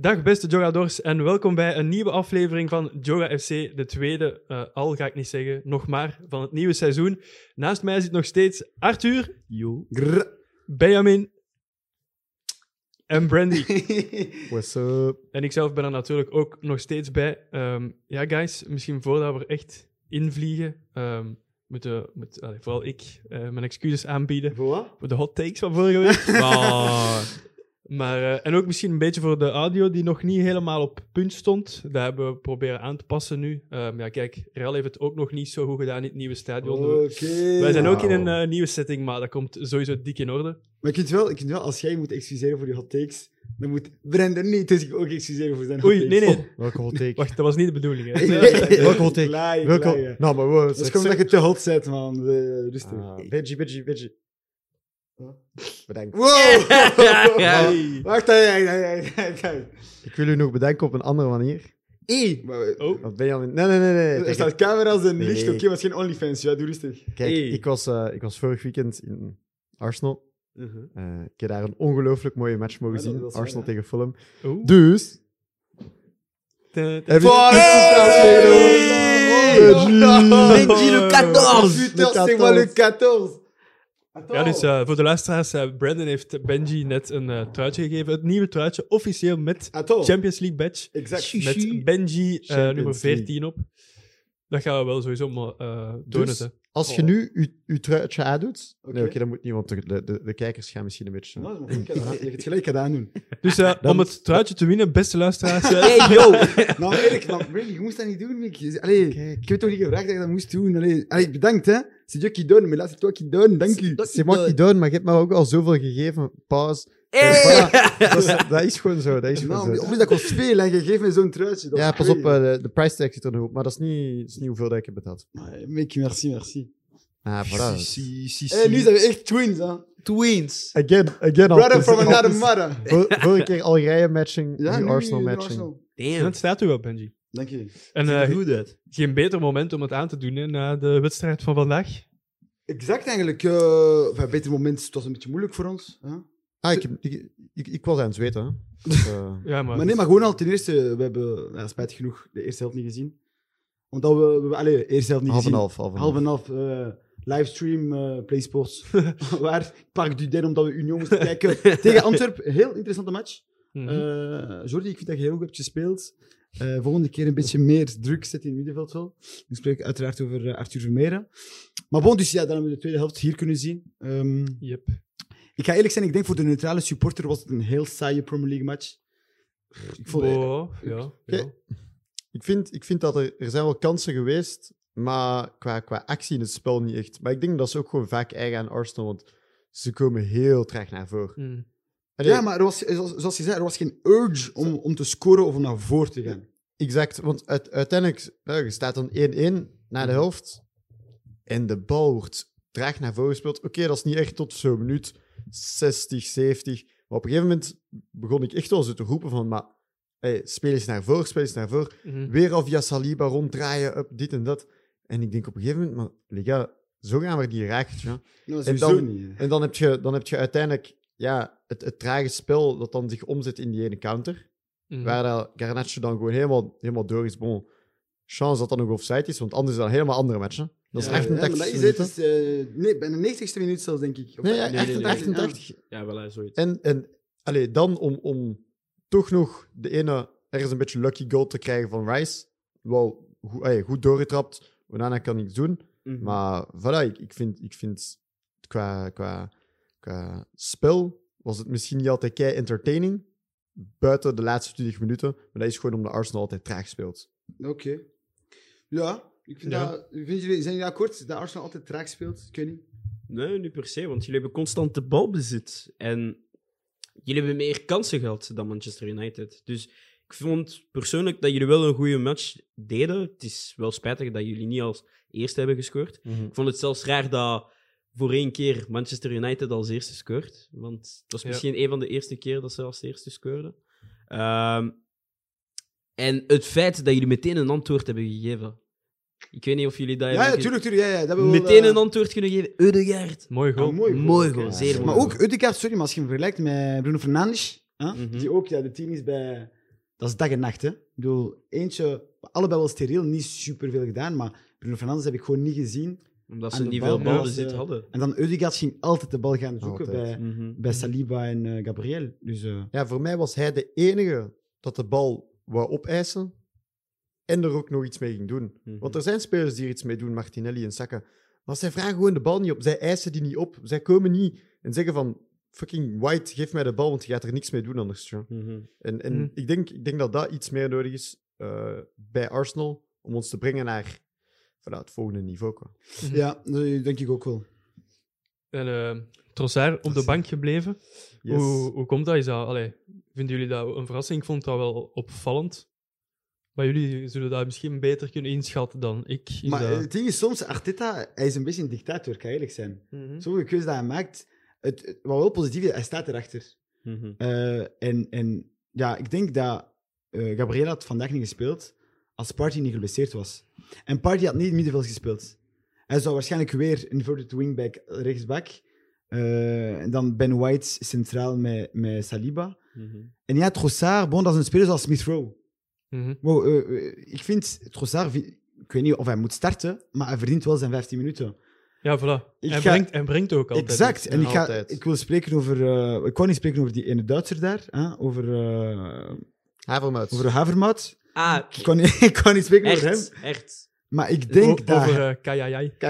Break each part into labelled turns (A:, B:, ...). A: Dag beste Jogadors en welkom bij een nieuwe aflevering van Joga FC, de tweede, eh, al ga ik niet zeggen, nog maar, van het nieuwe seizoen. Naast mij zit nog steeds Arthur,
B: Yo.
A: Benjamin en Brandy.
B: What's up?
A: En ikzelf ben er natuurlijk ook nog steeds bij. Ehm, ja, guys, misschien voordat we er echt invliegen, ehm moeten moet, allee, vooral ik eh, mijn excuses aanbieden
B: Voor wat?
A: voor de hot takes van vorige week. Maar, eh, en ook misschien een beetje voor de audio die nog niet helemaal op punt stond. Daar hebben we proberen aan te passen nu. Ehm, ja, kijk, Real heeft het ook nog niet zo goed gedaan in het nieuwe stadion. Wij zijn ook in een eh, nieuwe setting, maar dat komt sowieso dik in orde.
B: Maar ik vind, wel, ik vind wel, als jij je moet excuseren voor je hot takes, dan moet Brendan niet dus ik ook excuseren voor zijn hot
A: Oei,
B: takes.
A: nee, nee.
C: Welke hot take?
A: Oh, Wacht, dat was niet de bedoeling. Hè?
B: Nee,
C: Welke hot take?
B: Laai,
C: Welke...
B: laai, hè.
C: Nou, maar wow,
B: Dat is gewoon dat je te hot zet, man. Eh, rustig.
C: Ah, Veggie, veggie, veggie. Bedankt.
B: Wow!
A: Hey.
B: Wacht, hey, hey, hey, hey, hey.
C: Ik wil u nog bedanken op een andere manier.
B: Hey, maar we-
A: Oh,
C: Want Benjamin... Nee, nee, nee. nee.
B: Er
C: Kijk,
B: staat camera's en
C: Nee.
B: licht, oké, maar het is geen OnlyFans, ja, doe rustig.
C: kijk,
A: Hey.
C: ik, was, eh, ik was vorig weekend in Arsenal. Eh, ik heb daar een ongelooflijk mooie match mogen
B: Ja, dat
C: zien.
B: was wel,
C: Arsenal
B: ja.
C: tegen Fulham.
A: oh.
C: Dus...
A: Da- da-
C: Heb je-
B: Fuck!
C: Hey! Veggie!
B: Veggie, le 14! Oh, Putain, c'est moi le 14!
A: Ja, dus eh, voor de luisteraars, eh, Brandon heeft Benji net een eh, truitje gegeven. Het nieuwe truitje, officieel met
B: Attends.
A: Champions League badge.
B: Exact.
A: Met Benji eh,
C: Champions
A: nummer 14 op. Dat gaan we wel sowieso maar, eh tonen.
C: Dus-
A: hè.
C: Als je
B: Oh.
C: nu je, je truitje aandoet...
B: Oké.
C: Nee, oké, dat moet niet, want de, de, de- de kijkers gaan misschien een beetje...
B: Nou, dat is maar goed, ik ga- Je hebt het gelijk gedaan doen.
A: Dus eh,
C: Dan-
A: om het truitje te winnen, beste luisteraars. eh,
B: yo! Nou, eerlijk, maar Brady, je moest dat niet doen, Mick. Allee,
C: Kijk.
B: ik heb toch niet gevraagd dat je dat moest doen. Allee, allee bedankt, hè. C'est Dieu qui donne, mais là, c'est toi qui donne. Dank u.
C: Ze mag niet doen, maar je hebt mij ook al zoveel gegeven. Pauze. Dus dat, is, dat is gewoon zo. Dat is gewoon
B: Nou,
C: zo.
B: op dat kost veel, en je geeft me zo'n truitje. dat
C: Ja,
B: is
C: pas op,
B: twee.
C: eh, de, de price tag zit er nog op, maar dat is niet, dat is niet hoeveel dat ik heb betaald.
B: Maar, eh, Mick, merci, merci.
C: Ah, voilà.
D: Si, si,
B: Hé, Eh, nu zijn we echt twins, hè.
D: Twins.
C: Again, again. al-
B: Brother
C: dus-
B: from
C: al-
B: another
C: dus-
B: mother.
C: vor- Vorige keer Algerije matching,
B: Ja,
C: nu
B: nu
C: Arsenal matching.
A: en
D: Damn.
A: dat staat u wel, Benji.
B: Dank je.
A: En eh,
D: Hoe dat?
A: geen beter moment om het aan te doen hè, na de wedstrijd van vandaag.
B: Exact eigenlijk. eh, Bij beter moment, het was een beetje moeilijk voor ons. Hè?
C: Ah, ik, heb- ik, ik, ik was aan het zweten. Hè. Dus, eh,
A: Ja, maar,
B: Maar nee, maar gewoon al ten eerste, we hebben ja, spijtig genoeg de eerste helft niet gezien. Omdat we, we hebben- allee, de eerste helft niet
C: half en
B: gezien.
C: half. Half en
B: Half
C: half.
B: en half. eh, livestream, eh PlaySports. Waar? Park du Den, omdat we Union moesten kijken. Tegen Antwerpen, heel interessante match.
A: Mhm.
B: Eh, Jordi, ik vind dat je heel goed hebt gespeeld. Eh, volgende keer een beetje meer druk zetten in het middenveld wel. Ik spreek uiteraard over eh, Arthur Vermeeren. Maar bon, dus ja, dan hebben we de tweede helft hier kunnen zien. Ehm,
A: Yep.
B: ik ga eerlijk zijn, ik denk voor de neutrale supporter was het een heel saaie Premier League match. Ik vond,
A: Wow, ja, ja.
C: Ik, vind, ik vind dat er, er zijn wel kansen geweest, maar qua, qua actie in het spel niet echt. Maar ik denk dat ze ook gewoon vaak eigen aan Arsenal, want ze komen heel traag naar voren.
A: Mm.
C: Allee,
B: Ja, maar er was, zoals, zoals je zei, er was geen urge om, om te scoren of om naar voren te gaan.
C: Exact, want uit- uiteindelijk nou, je staat dan 1-1 na de helft en de bal wordt traag naar voren gespeeld. Oké, dat is niet echt tot zo'n minuut 60, 70. Maar op een gegeven moment begon ik echt wel zo te roepen van, maar hey, speel eens naar voren, speel eens naar voren.
A: Mhm.
C: Weer al via Saliba ronddraaien, up, dit en dat. En ik denk op een gegeven moment, maar lega, zo gaan we die raakt. Ja.
B: Nou,
C: En
B: sowieso
C: dan-
B: niet. hè.
C: En dan heb je, dan heb je uiteindelijk ja, het, het trage spel dat dan zich omzet in die ene counter.
A: Mhm.
C: Waar dat Garnacho dan gewoon helemaal, helemaal door is. Bon, chance dat dat nog offside is, want anders is dat een helemaal andere match. hè. Dat is
D: Ja,
B: Ja, maar
C: 88
B: dat is het,
C: minuten.
B: is, eh, nee, bij de 90ste minuut zelfs, denk ik. Of-
C: Nee, ja,
D: nee, nee,
C: 88,
D: nee.
C: 88.
D: Ja, wel hè, zoiets.
C: En, en allee, dan om, om toch nog de ene ergens een beetje lucky goal te krijgen van Rice. Wel goed, allee, goed doorgetrapt. Onana kan niks doen.
D: Mhm.
C: Maar voilà, ik, ik vind, ik vind qua, qua, qua spel was het misschien niet altijd kei entertaining. Buiten de laatste 20 minuten. Maar dat is gewoon omdat Arsenal altijd traag speelt.
B: Oké. Ja, ik vind
A: Ja.
B: dat... Vind jullie, zijn jullie akkoord dat Arsenal altijd traag speelt? Ik weet niet.
D: Nee, niet per se, want jullie hebben constant de balbezit. En jullie hebben meer kansen gehad dan Manchester United. Dus ik vond persoonlijk dat jullie wel een goede match deden. Het is wel spijtig dat jullie niet als eerste hebben gescoord.
A: mhm.
D: Ik vond het zelfs raar dat voor één keer Manchester United als eerste scoort. Want het was
A: Ja.
D: misschien een van de eerste keer dat ze als eerste scoorden. Ehm, en het feit dat jullie meteen een antwoord hebben gegeven. Ik weet niet of jullie dat
B: Ja,
D: hebben
B: ja,
D: ge-
B: tuurlijk, tuurlijk. Ja, ja, dat hebben we wel,
D: meteen
B: eh,
D: een antwoord kunnen geven. Eudegaard.
A: Mooi goal.
B: ja, mooi goal.
D: Mooi goal,
C: Ja,
D: zeer mooi.
B: Maar ook Udegaard, sorry, maar als je hem vergelijkt met Bruno Fernandes, hè,
D: Mhm.
B: die ook ja, de team is bij, dat is dag en nacht. Hè. Ik bedoel, eentje, allebei wel steriel, niet superveel gedaan, maar Bruno Fernandes heb ik gewoon niet gezien.
D: Omdat
B: Aan
D: ze
B: de
D: niet
B: bal,
D: veel
B: ja,
D: ballen
B: als,
D: zit
B: eh,
D: hadden.
B: En dan Udegaard ging altijd de bal gaan zoeken
C: Altijd.
B: bij,
D: Mhm.
B: bij Saliba en eh, Gabriel. Dus eh,
C: Ja, voor mij was hij de enige dat de bal wou opeisen en er ook nog iets mee ging doen.
D: Mhm.
C: Want er zijn spelers die er iets mee doen, Martinelli en Saka. Maar zij vragen gewoon de bal niet op. Zij eisen die niet op. Zij komen niet en zeggen van... Fucking White, geef mij de bal, want je gaat er niks mee doen anders. joh.
D: Mhm.
C: En, en
A: Mhm.
C: ik, denk, ik denk dat dat iets meer nodig is eh, bij Arsenal om ons te brengen naar voilà, het volgende niveau. Qua.
B: ja, dat denk ik ook wel.
A: En eh Trossard op de
C: Trossard.
A: bank gebleven.
C: Yes.
A: Hoe, hoe komt dat? Is dat allee, vinden jullie dat een verrassing? Ik vond dat wel opvallend. Maar jullie zullen dat misschien beter kunnen inschatten dan ik. Is
B: maar eh,
A: dat...
B: het ding is soms, Arteta, hij is een beetje een dictator, kan ik eerlijk zijn.
A: Hm? Mhm.
B: Sommige keuzes die hij maakt, het, het- wat wel positief is, hij staat erachter.
D: Mhm.
B: Eh, en, en ja, ik denk dat eh Gabriel had vandaag niet gespeeld als Party niet geblesseerd was. En Party had niet in middenveld gespeeld. Hij zou waarschijnlijk weer inverted wingback rechtsback. Eh, en dan Ben White centraal met, met Saliba.
D: Mhm.
B: En ja, Trossard, bon, dat is een speler zoals Smith Rowe.
A: Mhm.
B: Wow, eh, eh, ik vind Trossard, vi- ik weet niet of hij moet starten, maar hij verdient wel zijn 15 minuten.
A: Ja, voilà.
B: Ik
A: en,
B: ga-
A: brengt, en brengt ook altijd.
B: exact.
A: iets.
B: En ik, ga,
C: altijd.
B: ik wil spreken over. eh, ik kon niet spreken over die ene Duitser daar, hè, over. eh,
C: Havermuts.
B: Over Havermout.
D: Ah,
B: Ik kon, niet- ik kon niet spreken over hem.
D: echt, echt.
B: Maar ik denk
A: O-
B: dat...
A: Over eh, Kajajai.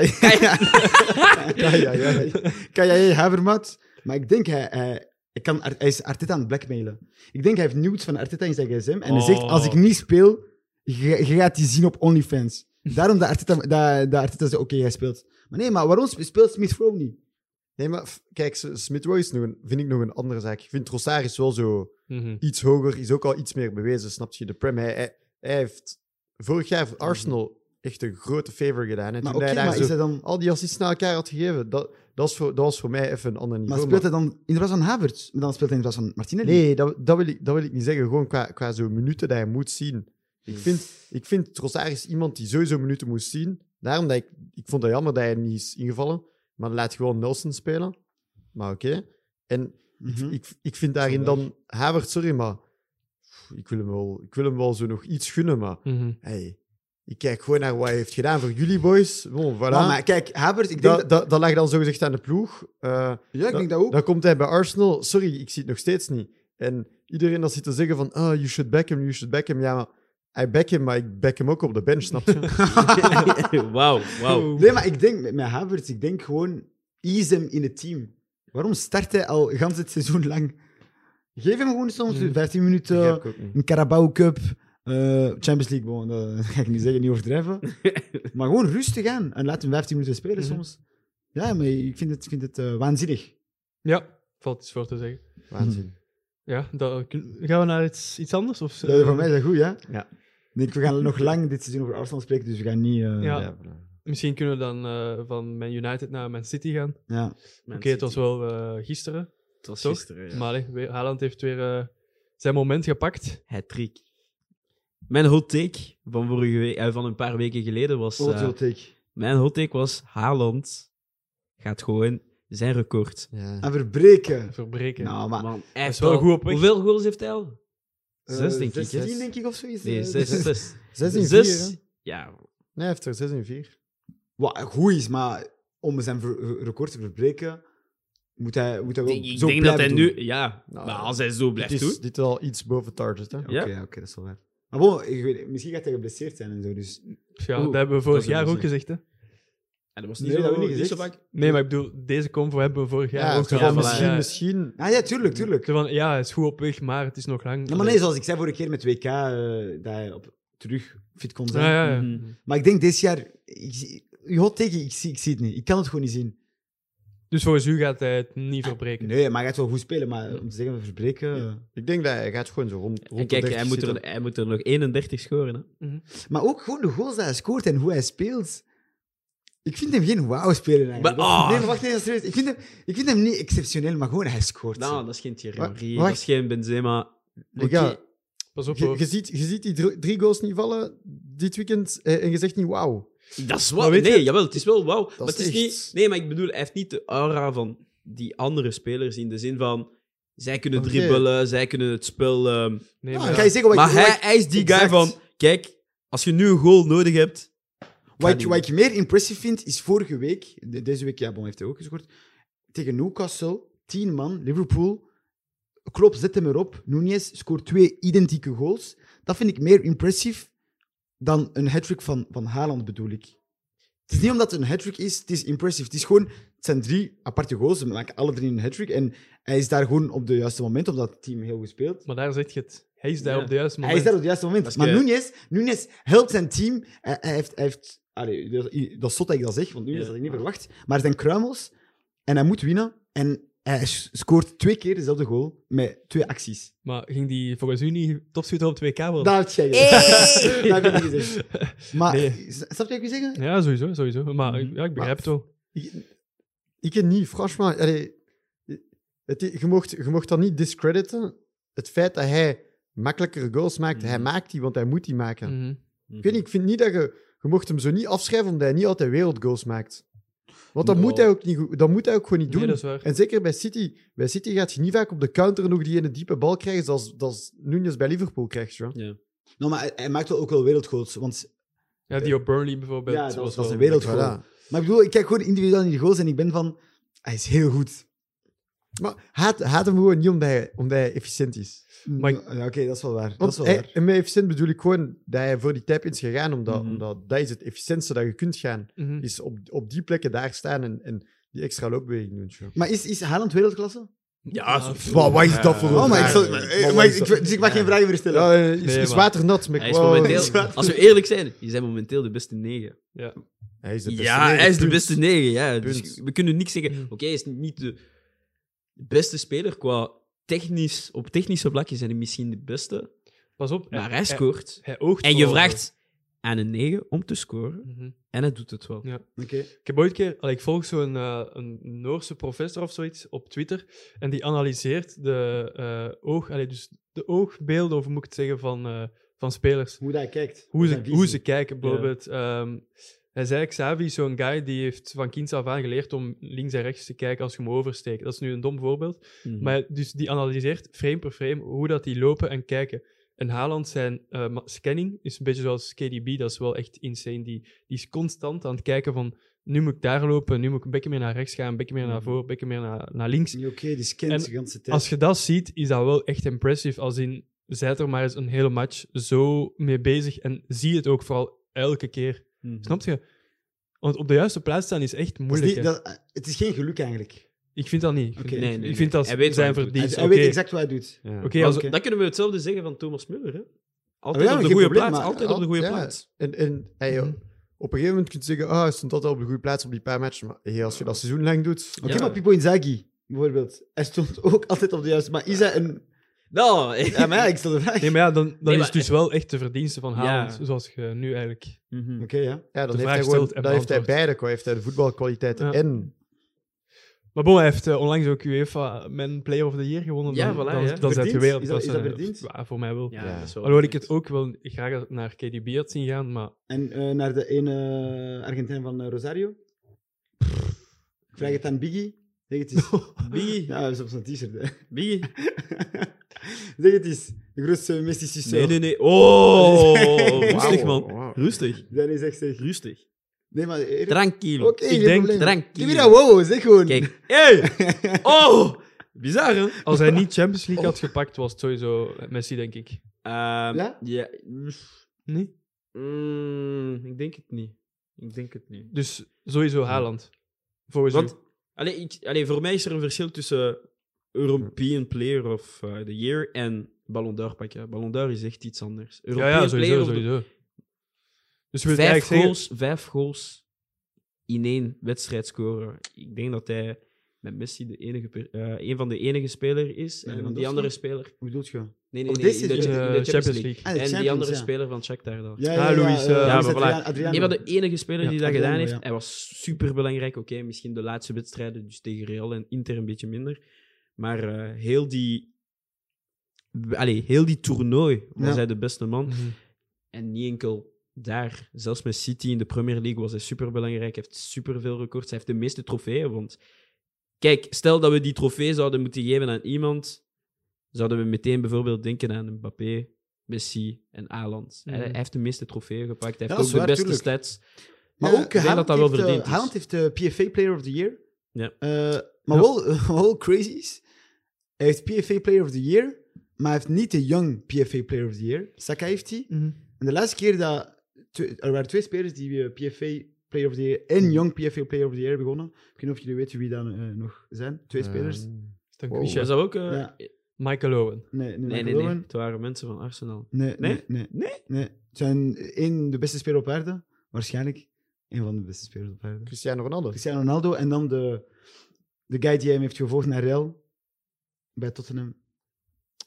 C: ja, ja, ja.
B: Kan jij Havermout? Maar ik denk hij... hij ik kan, Ar- hij is Arteta aan het blackmailen. Ik denk hij heeft nieuws van Arteta in zijn gsm. En hij zegt,
A: Oh.
B: als ik niet speel, je, je gaat die zien op OnlyFans. Daarom dat Arteta, dat, dat Arteta zegt, oké, jij speelt. Maar nee, maar waarom sp- speelt Smith Rowe niet?
C: Nee, maar f- kijk, Smith Rowe is nog een, vind ik nog een andere zaak. Ik vind Trossard is wel zo
A: Mhm.
C: iets hoger, is ook al iets meer bewezen, snap je? De Prem, hij, hij, hij heeft vorig jaar voor Arsenal echt een grote favor gedaan. En
B: Mhm. Maar
C: toen
B: oké,
C: hij daar
B: maar
C: zo
B: is hij dan...
C: al die assists naar elkaar had gegeven, dat, dat, is voor, dat was voor mij even een ander
B: Maar
C: niveau.
B: speelt hij dan in de plaats van Havertz? Dan speelt hij in de plaats van Martinelli?
C: Nee, dat, dat, wil ik, dat wil ik niet zeggen. Gewoon qua, qua zo'n minuten dat je moet zien. Ik
D: Hmm.
C: vind, ik vind Trossard is iemand die sowieso minuten moest zien. Daarom dat ik... Ik vond het jammer dat hij niet is ingevallen. Maar dan laat gewoon Nelson spelen. Maar oké. En
B: Mhm.
C: ik, ik vind daarin dan... Havertz, sorry, maar... Ik wil hem wel, ik wil hem wel zo nog iets gunnen, maar...
A: Mhm.
C: Hey, ik kijk gewoon naar wat hij heeft gedaan voor jullie, boys. Bon, voilà.
B: Maar, maar kijk, Havertz, ik denk
C: dat,
B: dat...
C: dat, dat lag dan zogezegd aan de ploeg. Eh,
B: ja, ik denk dat ook.
C: dan komt hij bij Arsenal. Sorry, ik zie het nog steeds niet. En iedereen dat zit te zeggen van, oh, you should back him, you should back him. Ja, maar I back him, maar ik back hem ook op de bench, snap je?
D: Wauw, wauw.
A: Oeh.
B: Nee, maar ik denk met, met Havertz, ik denk gewoon ease hem in het team. Waarom start hij al gans het seizoen lang? Geef hem gewoon soms
A: Mm.
B: 15 minuten,
C: Begrijp ik ook niet.
B: een Carabao Cup, eh, Champions League. Bon, dat ga ik niet zeggen, niet overdrijven. maar gewoon rustig aan en laat hem 15 minuten spelen
A: Mhm.
B: soms. Ja, maar ik vind het, ik vind het eh, waanzinnig.
A: Ja, valt iets voor te zeggen.
C: Waanzin.
A: Ja, dat, kun- gaan we naar iets, iets anders? Of, eh,
B: Dat voor mij is dat goed, ja?
C: Ja.
B: Ik denk, we gaan nog lang dit seizoen over Arsenal spreken, dus we gaan niet... eh, ja.
A: Ja.
C: Ja, voilà.
A: Misschien kunnen we dan eh, van Man United naar Man City gaan. Oké,
D: Oké,
A: het was wel eh, gisteren.
D: Het was
A: toch?
D: gisteren, ja.
A: Maar allee, weer- Haaland heeft weer eh, zijn moment gepakt.
D: Hattrick. Mijn hot take van, vorige week, eh, van een paar weken geleden was... eh,
B: Old take.
D: mijn hot take was... Haaland gaat gewoon zijn record.
C: Ja.
B: En verbreken.
A: Verbreken.
B: Nou, maar...
D: Man, hij
A: is
D: heeft
A: wel goed op weg.
D: Hoeveel goals heeft hij al?
B: eh,
D: Zes, denk ik, hè?
B: 16, denk ik, of zoiets.
D: Nee,
B: eh,
D: zes.
B: dus-
D: zes.
C: Zes in vier,
D: Zes?
C: hè?
D: Ja.
C: Nee, hij heeft er zes in vier.
B: wat goed is, maar om zijn ver- record te verbreken, moet hij, moet hij wel
D: Ik denk,
B: zo
D: dat
B: blijven
D: hij
B: doen.
D: nu... Ja,
C: Nou,
D: maar als hij zo blijft
C: dit, is,
D: doen...
C: dit is al iets boven target, hè?
B: Oké,
D: Ja.
B: oké, dat is wel waar. Maar bon, ik weet, misschien gaat hij geblesseerd zijn en zo, dus...
A: ja,
D: Oeh,
A: dat hebben we
D: dat
A: vorig
D: is een
A: jaar ook
D: zin.
A: gezegd. Hè?
D: En dat was niet
B: Nee,
D: zo,
B: dat heb ik niet
D: niet zo
B: gezegd.
D: vaak.
A: Nee, maar ik bedoel, deze combo hebben we vorig jaar
C: Ja,
A: ook
C: zo
A: gezegd.
C: van
D: voilà,
C: misschien,
A: Ja.
C: misschien...
B: Ah ja, tuurlijk, tuurlijk.
A: Zo van, ja, hij is goed op weg, maar het is nog lang.
B: Ja, maar nee, zoals ik zei vorige keer met WK, eh, dat hij op, terug fit kon zijn.
A: Ja, ja, ja.
D: Mhm.
B: Maar ik denk dit jaar... Ik, zie- je hot tegen, ik zie, ik zie het niet. Ik kan het gewoon niet zien.
A: Dus volgens u gaat hij het niet verbreken.
B: Nee, maar hij gaat wel goed spelen, maar om te zeggen verbreken... eh.
C: Ik denk dat hij gaat gewoon zo rond, rond
D: En
C: de
D: kijk,
C: 30
D: hij moet, er,
C: zitten.
D: hij moet er nog 31 scoren. Hè?
B: Maar ook gewoon de goals die hij scoort en hoe hij speelt. Ik vind hem geen wauw-speler eigenlijk.
D: Maar- ah.
B: Nee, maar wacht even, serieus. Ik vind, hem, ik vind hem niet exceptioneel, maar gewoon hij scoort. Ah,
D: Nou, dat is geen Thierry
C: Wa-
D: Henry,
C: wacht.
D: dat is geen Benzema.
C: Les
D: Oké.
C: gars,
A: Pas op,
C: je,
A: hoor.
C: je ziet, je ziet die drie, drie goals niet vallen dit weekend eh, en je zegt niet wauw.
D: Dat is
A: Maar
D: wel...
A: weet
D: Nee,
A: je-
D: jawel, het is wel wauw. Maar
C: is
D: het is
C: echt-
D: niet... Nee, maar ik bedoel, hij heeft niet de aura van die andere spelers in de zin van... Zij kunnen
C: Oké.
D: dribbelen, zij kunnen het spel. ehm,
A: Nee,
B: Ja,
A: maar
B: Ga je zeggen wat
D: maar
B: ik,
D: hij,
B: wat ik-
D: hij is die guy
B: exact.
D: van: kijk, als je nu een goal nodig hebt.
B: Wat, ik,
D: die-
B: wat ik meer impressief vind, is vorige week, de- deze week, ja, Bon heeft hij ook gescoord, tegen Newcastle, 10 man, Liverpool. Klopp zet hem erop. Nunez scoort twee identieke goals. Dat vind ik meer impressief dan een hat-trick van, van Haaland, bedoel ik. Het is niet omdat het een hat-trick is, het is impressief. Het is gewoon, het zijn drie aparte goals, ze maken alle drie een hat-trick. En hij is daar gewoon op de juiste moment, omdat het team heel goed speelt.
A: Maar daar zeg je het. Hij is daar
D: Ja.
A: op de juiste
B: Hij
A: moment.
B: is daar op het juiste moment.
D: Als
B: maar
D: je-
B: Nunes, Nunes helpt zijn team. Eh, Hij, hij heeft... Hij heeft allee, dat, dat is zot dat ik dat zeg, want Nunes
D: Ja.
B: had ik niet verwacht. Maar het zijn kruimels en hij moet winnen. En hij s- scoort twee keer dezelfde goal met twee acties.
A: Maar ging die volgens u niet topschutter op 2K worden?
B: Dat had jij gezegd. Dat heb ik niet gezegd. Maar,
A: Nee.
B: s- snap je wat ik wil zeggen?
A: Ja, sowieso, sowieso. Maar
D: Mhm.
A: ik- ja, ik
C: Maar-
A: begrijp het
B: Ah,
A: wel.
C: Ik, ik ken niet, franchement. Allee, het, i- je, mocht, je mocht dat niet discrediten. Het feit dat hij makkelijker goals maakt,
D: Mm.
C: hij maakt die, want hij moet die maken.
A: Mhm.
C: Ik weet niet, ik vind niet dat je... Je mocht hem zo niet afschrijven omdat hij niet altijd wereldgoals maakt. Want dat,
D: Nou.
C: moet, hij ook niet, goed- dat moet hij ook gewoon niet doen.
A: Nee, dat is waar.
C: En zeker bij City. Bij City gaat je niet vaak op de counter nog die ene diepe bal krijgen zoals, zoals Nunes bij Liverpool krijgt. Ja.
B: Nou, maar hij, hij maakt wel ook wel wereldgoals. Want,
A: Ja, die op Burnley bijvoorbeeld.
B: Ja, dat was- dat was
A: wel-
B: een wereldgoal.
C: Voilà.
B: maar ik bedoel, ik kijk gewoon individueel naar die goals en ik ben van... Hij is heel goed.
C: Maar haat, haat hem gewoon niet omdat hij, omdat hij efficiënt is.
A: Maar ik-
B: Ja, Oké, dat is wel waar. Dat
C: Want
B: is wel
C: hij-
B: waar.
C: en met efficiënt bedoel ik gewoon dat hij voor die tap is gegaan, omdat,
D: Mhm.
C: omdat dat is het efficiëntste dat je kunt gaan.
A: Mhm.
C: Is op, op die plekken daar staan en, en die extra loopbeweging doen. tjoh.
B: Maar is, is Haaland wereldklasse?
D: Ja,
A: Ja,
D: zo-
C: Wat- wat is dat voor een
B: Oh, maar ik,
C: vraag,
B: zal,
C: joh?
B: maar,
C: Wat- wat
B: maar
C: is
B: ik,
C: dat-
B: dus ik mag geen vragen meer stellen.
C: Ja, eh, is,
A: Nee,
C: is
A: maar-
C: waternat. Maar
D: Hij
C: ik
D: is
C: wou-
D: momenteel, als we eerlijk zijn, die zijn momenteel de beste negen.
C: Hij is de beste.
D: Ja,
C: negen,
D: hij is de
C: punt.
D: beste negen. Ja. Dus
C: Punt. Mm.
D: we kunnen niks zeggen.
A: Mhm.
D: Oké, hij is niet de beste speler qua technisch. Op technische vlakken zijn hij misschien de beste.
A: Pas op.
D: Maar
A: hij
D: hij scoort.
A: Hij oogt
D: En je
A: wel.
D: vraagt aan een negen om te scoren.
A: Mhm.
D: En hij doet het wel.
A: Ja.
B: Oké.
A: Ik heb ooit een keer, allee, ik volg zo'n eh, een Noorse professor of zoiets op Twitter. En die analyseert de, eh, oog, allee, dus de oogbeelden, of hoe moet ik het zeggen, van, eh, van spelers.
B: Hoe dat kijkt.
A: Hoe ze,
B: Zijn
A: hoe ze
B: visie.
A: kijken, bijvoorbeeld. Ehm, hij zei, Xavi is zo'n guy die heeft van kinds af aan geleerd om links en rechts te kijken als je hem oversteekt. Dat is nu een dom voorbeeld.
B: Mm. Hm.
D: Mhm.
A: Maar dus die analyseert frame per frame hoe dat die lopen en kijken. En Haaland zijn eh, ma- scanning is een beetje zoals KDB, dat is wel echt insane. Die, die is constant aan het kijken van, nu moet ik daar lopen, nu moet ik een beetje meer naar rechts gaan, een beetje
B: Hm.
A: meer naar voren, een beetje meer naar, naar links.
B: Oké, die scant
A: En
B: de ganse tijd.
A: Als je dat ziet, is dat wel echt impressive. Als in, zijt er maar eens een hele match zo mee bezig en zie het ook vooral elke keer.
D: Mhm.
A: Snap je? Want op de juiste plaats staan is echt
B: Hmm. Dat is
A: moeilijk.
B: niet-
A: hè.
B: dat- het is geen geluk eigenlijk.
A: Ik vind dat niet. Ik vind,
B: Oké.
A: ik-
D: Nee, nee,
A: ik
D: nee.
A: vind dat
D: Hij weet
A: zijn
D: wat hij doet.
B: Hij,
A: verdienst.
B: hij weet
A: Oké.
B: exact wat hij doet.
D: Ja.
A: Oké, als-
B: Oké.
D: Dan kunnen we hetzelfde zeggen van Thomas Müller. Hè? Altijd
B: ja,
D: op Ah, de
B: geen
D: goede
B: probleem,
D: plaats.
B: maar-
D: Altijd op de goede
C: Ja.
D: plaats.
C: En, en hij,
A: Mhm.
C: op een gegeven moment kun je zeggen, ah, hij stond altijd op de goede plaats op die paar matchen. Maar hey, als je dat seizoen lang doet...
B: Oké,
D: Ja.
B: maar Pipo Inzaghi, bijvoorbeeld. Hij stond ook altijd op de juiste... Maar is hij een...
D: Nou,
B: Ja, maar ja, ik stel de vraag.
A: Nee, maar ja, dan, dan
D: Nee,
A: is
D: maar-
A: het dus wel echt de verdienste van
D: Ja.
A: Haaland, zoals je nu eigenlijk...
D: Mhm.
B: Oké, ja.
C: Ja, dan
A: De
C: heeft
A: vraag
C: hij, gewoon,
A: stelt en
C: dan heeft hij
A: beantwoordt.
C: beide. Hij heeft hij de voetbalkwaliteit
A: Ja.
C: en...
A: Maar bon, hij heeft eh, onlangs ook UEFA Man Player of the Year gewonnen.
D: Ja,
A: dan
D: voilà,
A: dan,
D: ja.
A: dan zijn
B: Verdiend?
A: je wereldklasse.
B: Is dat- is dat verdiend?
A: Ja, voor mij wel.
D: Ja,
C: Ja.
D: dat is wel
A: Alhoewel ik het ook wel graag naar KDB had zien gaan, maar
B: En eh, naar de ene Argentijn van eh, Rosario. Ik vraag het aan Biggie. Zeg het eens.
D: Biggie.
B: Ja, hij is op zijn t-shirt. hè.
D: Biggie.
B: zeg het eens. De grootste Messi succes.
D: Nee, nee, nee. Oh, rustig
C: Wauw,
D: man.
C: wauw.
D: Rustig.
B: Dat is echt zeg.
D: Rustig.
B: Nee, maar... Oké,
D: Tranquilo.
B: geen
A: Ik denk-
B: probleem. Give me
D: Tranquilo.
B: that wow, zeg gewoon.
D: Kijk. Hey! Oh! Bizar, hè?
A: als hij niet Champions League had gepakt, was het sowieso Messi, denk ik.
D: Ehm,
B: Ja?
D: ja.
A: Nee?
D: Mm, ik denk het niet. Ik denk het niet.
A: Dus sowieso Haaland. Volgens
D: Want,
A: u.
D: Hmm. allee, ik, allee, voor mij is er een verschil tussen European Player of eh, the Year en Ballon d'Or pakken. Ballon d'Or is echt iets anders.
A: Ja,
D: European
A: ja,
D: Player
A: sowieso,
D: of the-
A: sowieso. Dus je wilt eigenlijk
D: vijf,
A: zeggen...
D: goals, vijf goals in één wedstrijd scoren. Ik denk dat hij met Messi de enige, per- eh, een van de enige speler is.
B: Nee,
D: en die
B: Lewandowski?
D: andere speler...
B: Hoe bedoel je?
D: Nee, nee,
B: Of
D: nee.
B: dit
D: in de,
B: is- dus
D: cha- in de
A: eh,
D: Champions, League.
B: Ah, de
D: en die
B: Champions,
D: andere
B: ja.
D: speler van Shakhtar dan.
B: Ja,
A: Ah, Luis,
B: eh,
A: ja,
B: Luis
D: maar voilà.
B: Adriaan- Adriano.
D: Een van de enige spelers
A: Ja,
D: die dat
B: Adriano,
D: gedaan heeft.
B: ja.
D: Hij was super belangrijk. Oké, misschien de laatste wedstrijden, dus tegen Real en Inter een beetje minder. Maar eh, heel die. Allee, heel die toernooi was
B: Ja.
D: hij de beste man.
A: Mhm.
D: En niet enkel daar. Zelfs met City in de Premier League was hij super belangrijk. Hij heeft superveel records. Hij heeft de meeste trofeeën. Want kijk, stel dat we die trofee zouden moeten geven aan iemand zouden we meteen bijvoorbeeld denken aan Mbappé, Messi en Haaland. Hij,
A: Mhm.
D: hij heeft de meeste trofeeën gepakt, hij
B: Ja,
D: heeft
B: dat
D: ook
B: is
D: de
B: waar,
D: beste
B: tuurlijk.
D: stats.
B: Maar
D: Ja,
B: ook
D: ik denk
B: Haaland,
D: dat dat wel
B: heeft, eh,
D: verdiend is.
B: Haaland heeft de PFA Player of the Year.
D: Ja.
B: Eh, maar
A: Ja.
B: wel, wel crazy is, hij heeft PFA Player of the Year, maar hij heeft niet de Young PFA Player of the Year. Saka heeft die. En de laatste keer dat... tw- Er waren twee spelers die eh, PFA Player of the Year en Young PFA Player of the Year hebben gewonnen. Ik weet niet of jullie weten wie dan eh, nog zijn. Twee spelers.
C: Ehm,
A: Dan
C: Wow.
A: quiz je.
D: Was dat ook... eh,
B: Ja.
A: Michael Owen.
B: Nee, nee,
D: Nee, nee,
B: Michael
D: nee.
B: Owen.
D: Het waren mensen van Arsenal.
B: Nee, nee,
D: Nee?
B: nee.
D: Nee?
B: Het zijn één de beste speler op aarde, waarschijnlijk. Een van de beste spelers op aarde.
C: Cristiano Ronaldo.
B: Cristiano Ronaldo en dan de, de guy die hem heeft gevolgd naar Real bij Tottenham.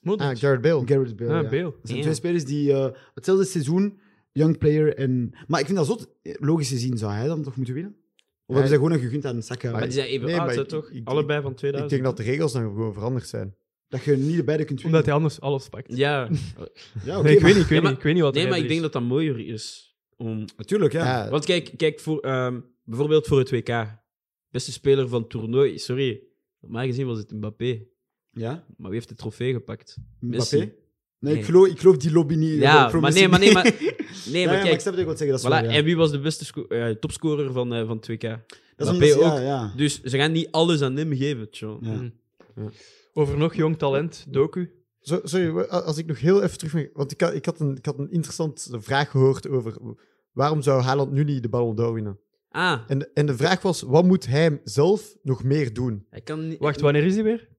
A: Modric.
C: Ah, Jared Bale.
B: Gareth Bale.
A: Ah,
B: ja.
A: Bale.
B: Dat zijn
D: Ja.
B: twee spelers die eh, hetzelfde seizoen, young player en... Maar ik vind dat zot. Logisch gezien zou hij dan toch moeten winnen? Of
C: Hij-
B: hebben ze gewoon een gegund aan Saka?
D: Maar die zijn even
C: Nee,
D: oud,
C: maar
D: hè,
C: ik-
D: toch?
C: ik- ik-
D: Allebei van
C: Ik
D: 2000.
C: denk dat de regels dan gewoon veranderd zijn.
B: Dat je niet de beide kunt winnen.
A: Omdat hij anders alles pakt.
D: Ja,
B: Ja, oké,
A: Nee, ik weet niet, ik weet,
D: Ja, maar-
A: niet, ik weet niet wat
D: nee,
A: er
D: maar ik
A: is.
D: denk dat dat mooier is. Om...
B: Natuurlijk, ja.
C: Ja,
D: Want kijk, kijk voor, ehm, bijvoorbeeld voor het WK. Beste speler van het toernooi, sorry. Normaal gezien was het Mbappé.
B: ja.
D: Maar wie heeft de trofee gepakt?
B: Mbappé? Nee,
D: Messi.
B: Ik,
D: Nee.
B: geloof, ik geloof die lobby niet. eh,
D: Ja,
B: voor
D: maar
B: Messi
D: nee, maar nee,
B: niet.
D: maar...
B: Ja,
D: Nee,
B: ja,
D: maar
B: maar ik
D: kijk,
B: snap dat ik wil zeggen, dat is
D: voilà.
B: waar, ja.
D: En wie was de beste sco- eh, topscorer van, eh, van het WK?
B: Dat is
D: Mbappé
B: omdat, ja,
D: ook.
B: ja.
D: Dus ze gaan niet alles aan hem geven, tjo.
B: Ja.
A: Mm. Over nog jong talent, docu.
C: Zo- Sorry, wa- als ik nog heel even terug... mag- Want ik, had- ik, had een, ik had een interessante vraag gehoord over... Waarom zou Haaland nu niet de Ballon d'Or winnen?
D: Ah,
C: En, de- en de vraag was, wat moet hij zelf nog meer doen?
D: hij kan niet...
A: Wacht, wanneer is die weer?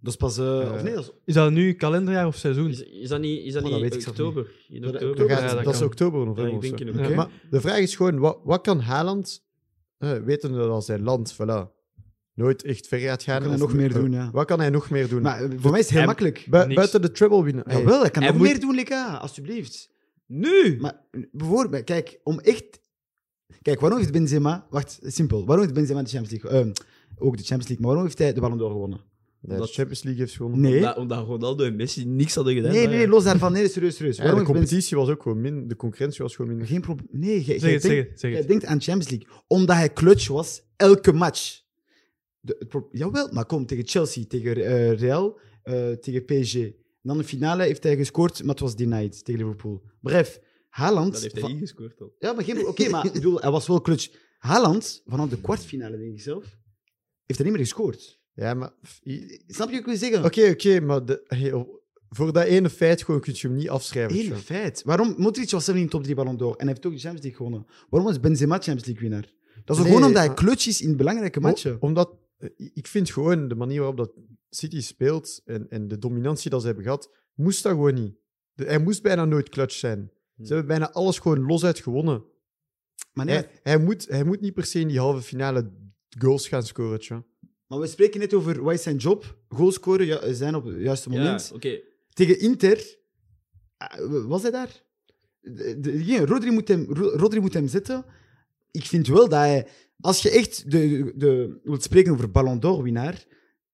B: Dat is pas... eh, of nee, dat is...
A: Is dat nu kalenderjaar of seizoen?
D: Is, is dat niet, is dat
B: Oh,
D: niet
B: dat weet ik zelf
D: oktober? In
B: Dat-
D: oktober?
C: Dan
A: Ja,
C: gaat-
A: dat
C: dat is
A: kan.
C: oktober of
D: Ja,
C: november
D: ik
C: of zo.
D: denk in
B: Oké.
D: oktober.
C: Maar de vraag is gewoon, wat, wat kan Haaland, eh, wetende dat zijn land, voilà, nooit echt ver gaat gaan?
B: kan hij
C: of
B: nog
C: nu-
B: meer
C: eh,
B: doen, ja.
C: Wat kan hij nog meer doen?
B: Maar eh, voor mij is het heel
A: Hij-
B: makkelijk.
C: Bu-
A: niks.
C: buiten de treble winnen. Hey,
B: Jawel, hij kan
D: Hij
B: nog
D: moet-
B: meer doen, Lika, alsjeblieft.
D: Nu!
B: Maar eh, bijvoorbeeld, kijk, om echt... Kijk, waarom heeft Benzema... Wacht, simpel. Waarom heeft Benzema de Champions League... eh, ook de Champions League, maar waarom heeft hij de Ballon d'Or gewonnen?
C: nee, de
D: dat-
C: Champions League heeft gewonnen.
B: Nee.
D: Omdat, omdat Ronaldo en Messi niks hadden gedaan.
B: Nee,
D: daar.
B: nee, los daarvan. Nee, serieus, serieus.
C: Ja,
B: Waarom
C: de
B: heeft Benzema...
C: competitie was ook gewoon minder. De concurrentie was gewoon minder.
B: Geen probleem. Nee, jij-
A: Zeg
B: jij
A: het,
B: denkt-
A: zeg het, zeg
B: Jij
A: het.
B: denkt aan Champions League. Omdat hij clutch was elke match. De, het pro- jawel, maar kom, tegen Chelsea, tegen eh, Real, eh, tegen PSG. En dan de finale heeft hij gescoord, maar het was denied tegen Liverpool. Bref, Haaland...
D: Dat heeft hij
B: van-
D: ingescoord al.
B: Ja, maar geen... Oké, maar ik bedoel, hij was wel clutch. Haaland, vanaf de kwartfinale, denk ik zelf, heeft hij niet meer gescoord.
C: Ja, maar... f- i-
B: Snap je wat ik wil zeggen?
C: Oké, oké, maar de, hey, oh, voor dat ene feit gewoon kun je hem niet afschrijven.
B: Hele
C: Sean.
B: feit. Waarom? Modric was zelf niet in de top 3 Ballon d'Or en hij heeft ook de Champions League gewonnen. Waarom was Benzema Champions League winnaar? Dat is
C: Nee,
B: gewoon omdat hij
C: maar- Oh.
B: clutch is in belangrijke matchen.
C: O- omdat... eh, Ik vind gewoon de manier waarop dat City speelt en, en de dominantie dat ze hebben gehad, moest dat gewoon niet. De- hij moest bijna nooit clutch zijn.
D: Hmm.
C: Ze hebben bijna alles gewoon losuit gewonnen.
B: Maar nee,
C: Hij, hij moet, hij moet niet per se in die halve finale goals gaan scoren. tja.
B: Maar we spreken net over wat is zijn job? Goal scoren, ju- zijn op het juiste
D: Ja,
B: moment.
D: oké.
B: Tegen Inter, eh, was hij daar? De, de- geen, Rodri, moet hem, Ro- Rodri moet hem zetten. Ik vind wel dat hij... Als je echt de, de, wilt spreken over Ballon d'Or-winnaar,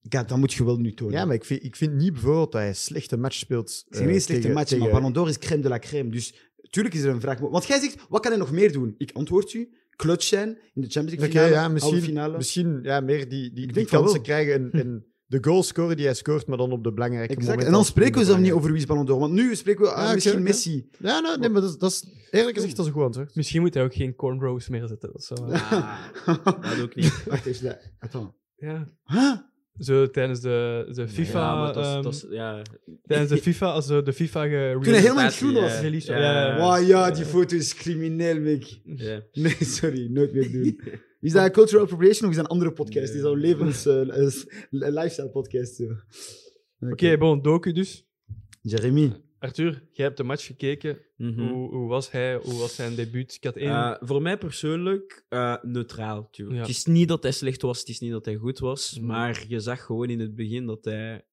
B: ja, dan moet je wel nu tonen.
C: Ja, maar ik vind, ik vind niet bijvoorbeeld dat hij een slechte match speelt.
B: het is geen
C: eh,
B: slechte
C: tegen-
B: match,
C: tegen-
B: maar Ballon d'Or is crème de la crème. Dus tuurlijk is er een vraag. Want jij zegt, wat kan hij nog meer doen? Ik antwoord u, clutch zijn in de Champions League
C: Oké,
B: finale,
C: ja, misschien,
B: halve finale.
C: misschien ja, meer die, die, die
B: denk van
C: kansen
B: wel.
C: krijgen en, en de goals scoren die hij scoort, maar dan op de belangrijke
B: Exact.
C: momenten.
B: En dan
C: als het
B: spreken we zelf niet
C: minder
B: over wie is Ballon d'Or. Want nu spreken we ah,
C: Ja, oké,
B: misschien
C: oké.
B: Messi.
C: belangrijk is. Ja, nou, nee, maar dat is, dat is eerlijk gezegd dat is een goed antwoord.
A: Misschien moet hij ook geen cornrows meer zetten. Dat zou...
D: Ah, dat ook niet.
B: Wacht even, dat- attends.
A: ja.
B: Huh?
A: Zo tijdens de, de FIFA...
D: Ja, maar dat is-
A: ehm,
D: dat is- ja.
A: Tijdens de FIFA, als de, de FIFA ge-
B: Toen hij helemaal in het
D: Ja,
B: groen was.
D: ja.
A: Release, ja, ja.
B: Wauw, ja, die foto is crimineel, Mick.
D: Ja.
B: Nee, sorry, nooit meer doen. Is dat een cultural appropriation of is dat een andere podcast?
D: Nee.
B: Is dat een levens, eh, eh, s- lifestyle podcast? zo? Oké,
A: Oké, bon, docu dus.
B: Jeremy.
A: Arthur, jij hebt de match gekeken.
D: Mhm.
A: Hoe, hoe was hij? Hoe was zijn debuut? Ik had één...
D: Eh, voor mij persoonlijk eh, neutraal. tuurlijk.
A: Ja.
D: Het is niet dat hij slecht was, het is niet dat hij goed was,
A: Mhm.
D: maar je zag gewoon in het begin dat hij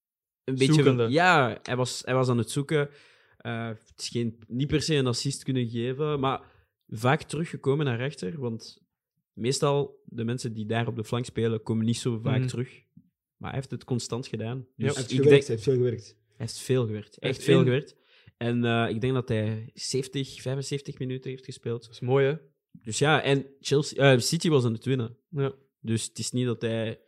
D: een beetje.
A: Zoekende.
D: Ja, hij was, hij was aan het zoeken. Eh, het is geen, niet per se een assist kunnen geven, maar vaak teruggekomen naar rechter. Want meestal de mensen die daar op de flank spelen, komen niet zo vaak
A: Mhm.
D: terug. Maar hij heeft het constant gedaan. Dus
A: Hij
B: Heeft
D: ik
B: gewerkt,
D: denk,
B: heeft veel gewerkt.
D: hij heeft veel gewerkt.
A: Hij
D: Echt
A: heeft
D: veel
A: één-
D: gewerkt. En eh, ik denk dat hij 70, 75 minuten heeft gespeeld.
A: Dat is mooi, hè?
D: Dus ja, en Chelsea, eh, City was aan het winnen.
A: Ja.
D: Dus het is niet dat hij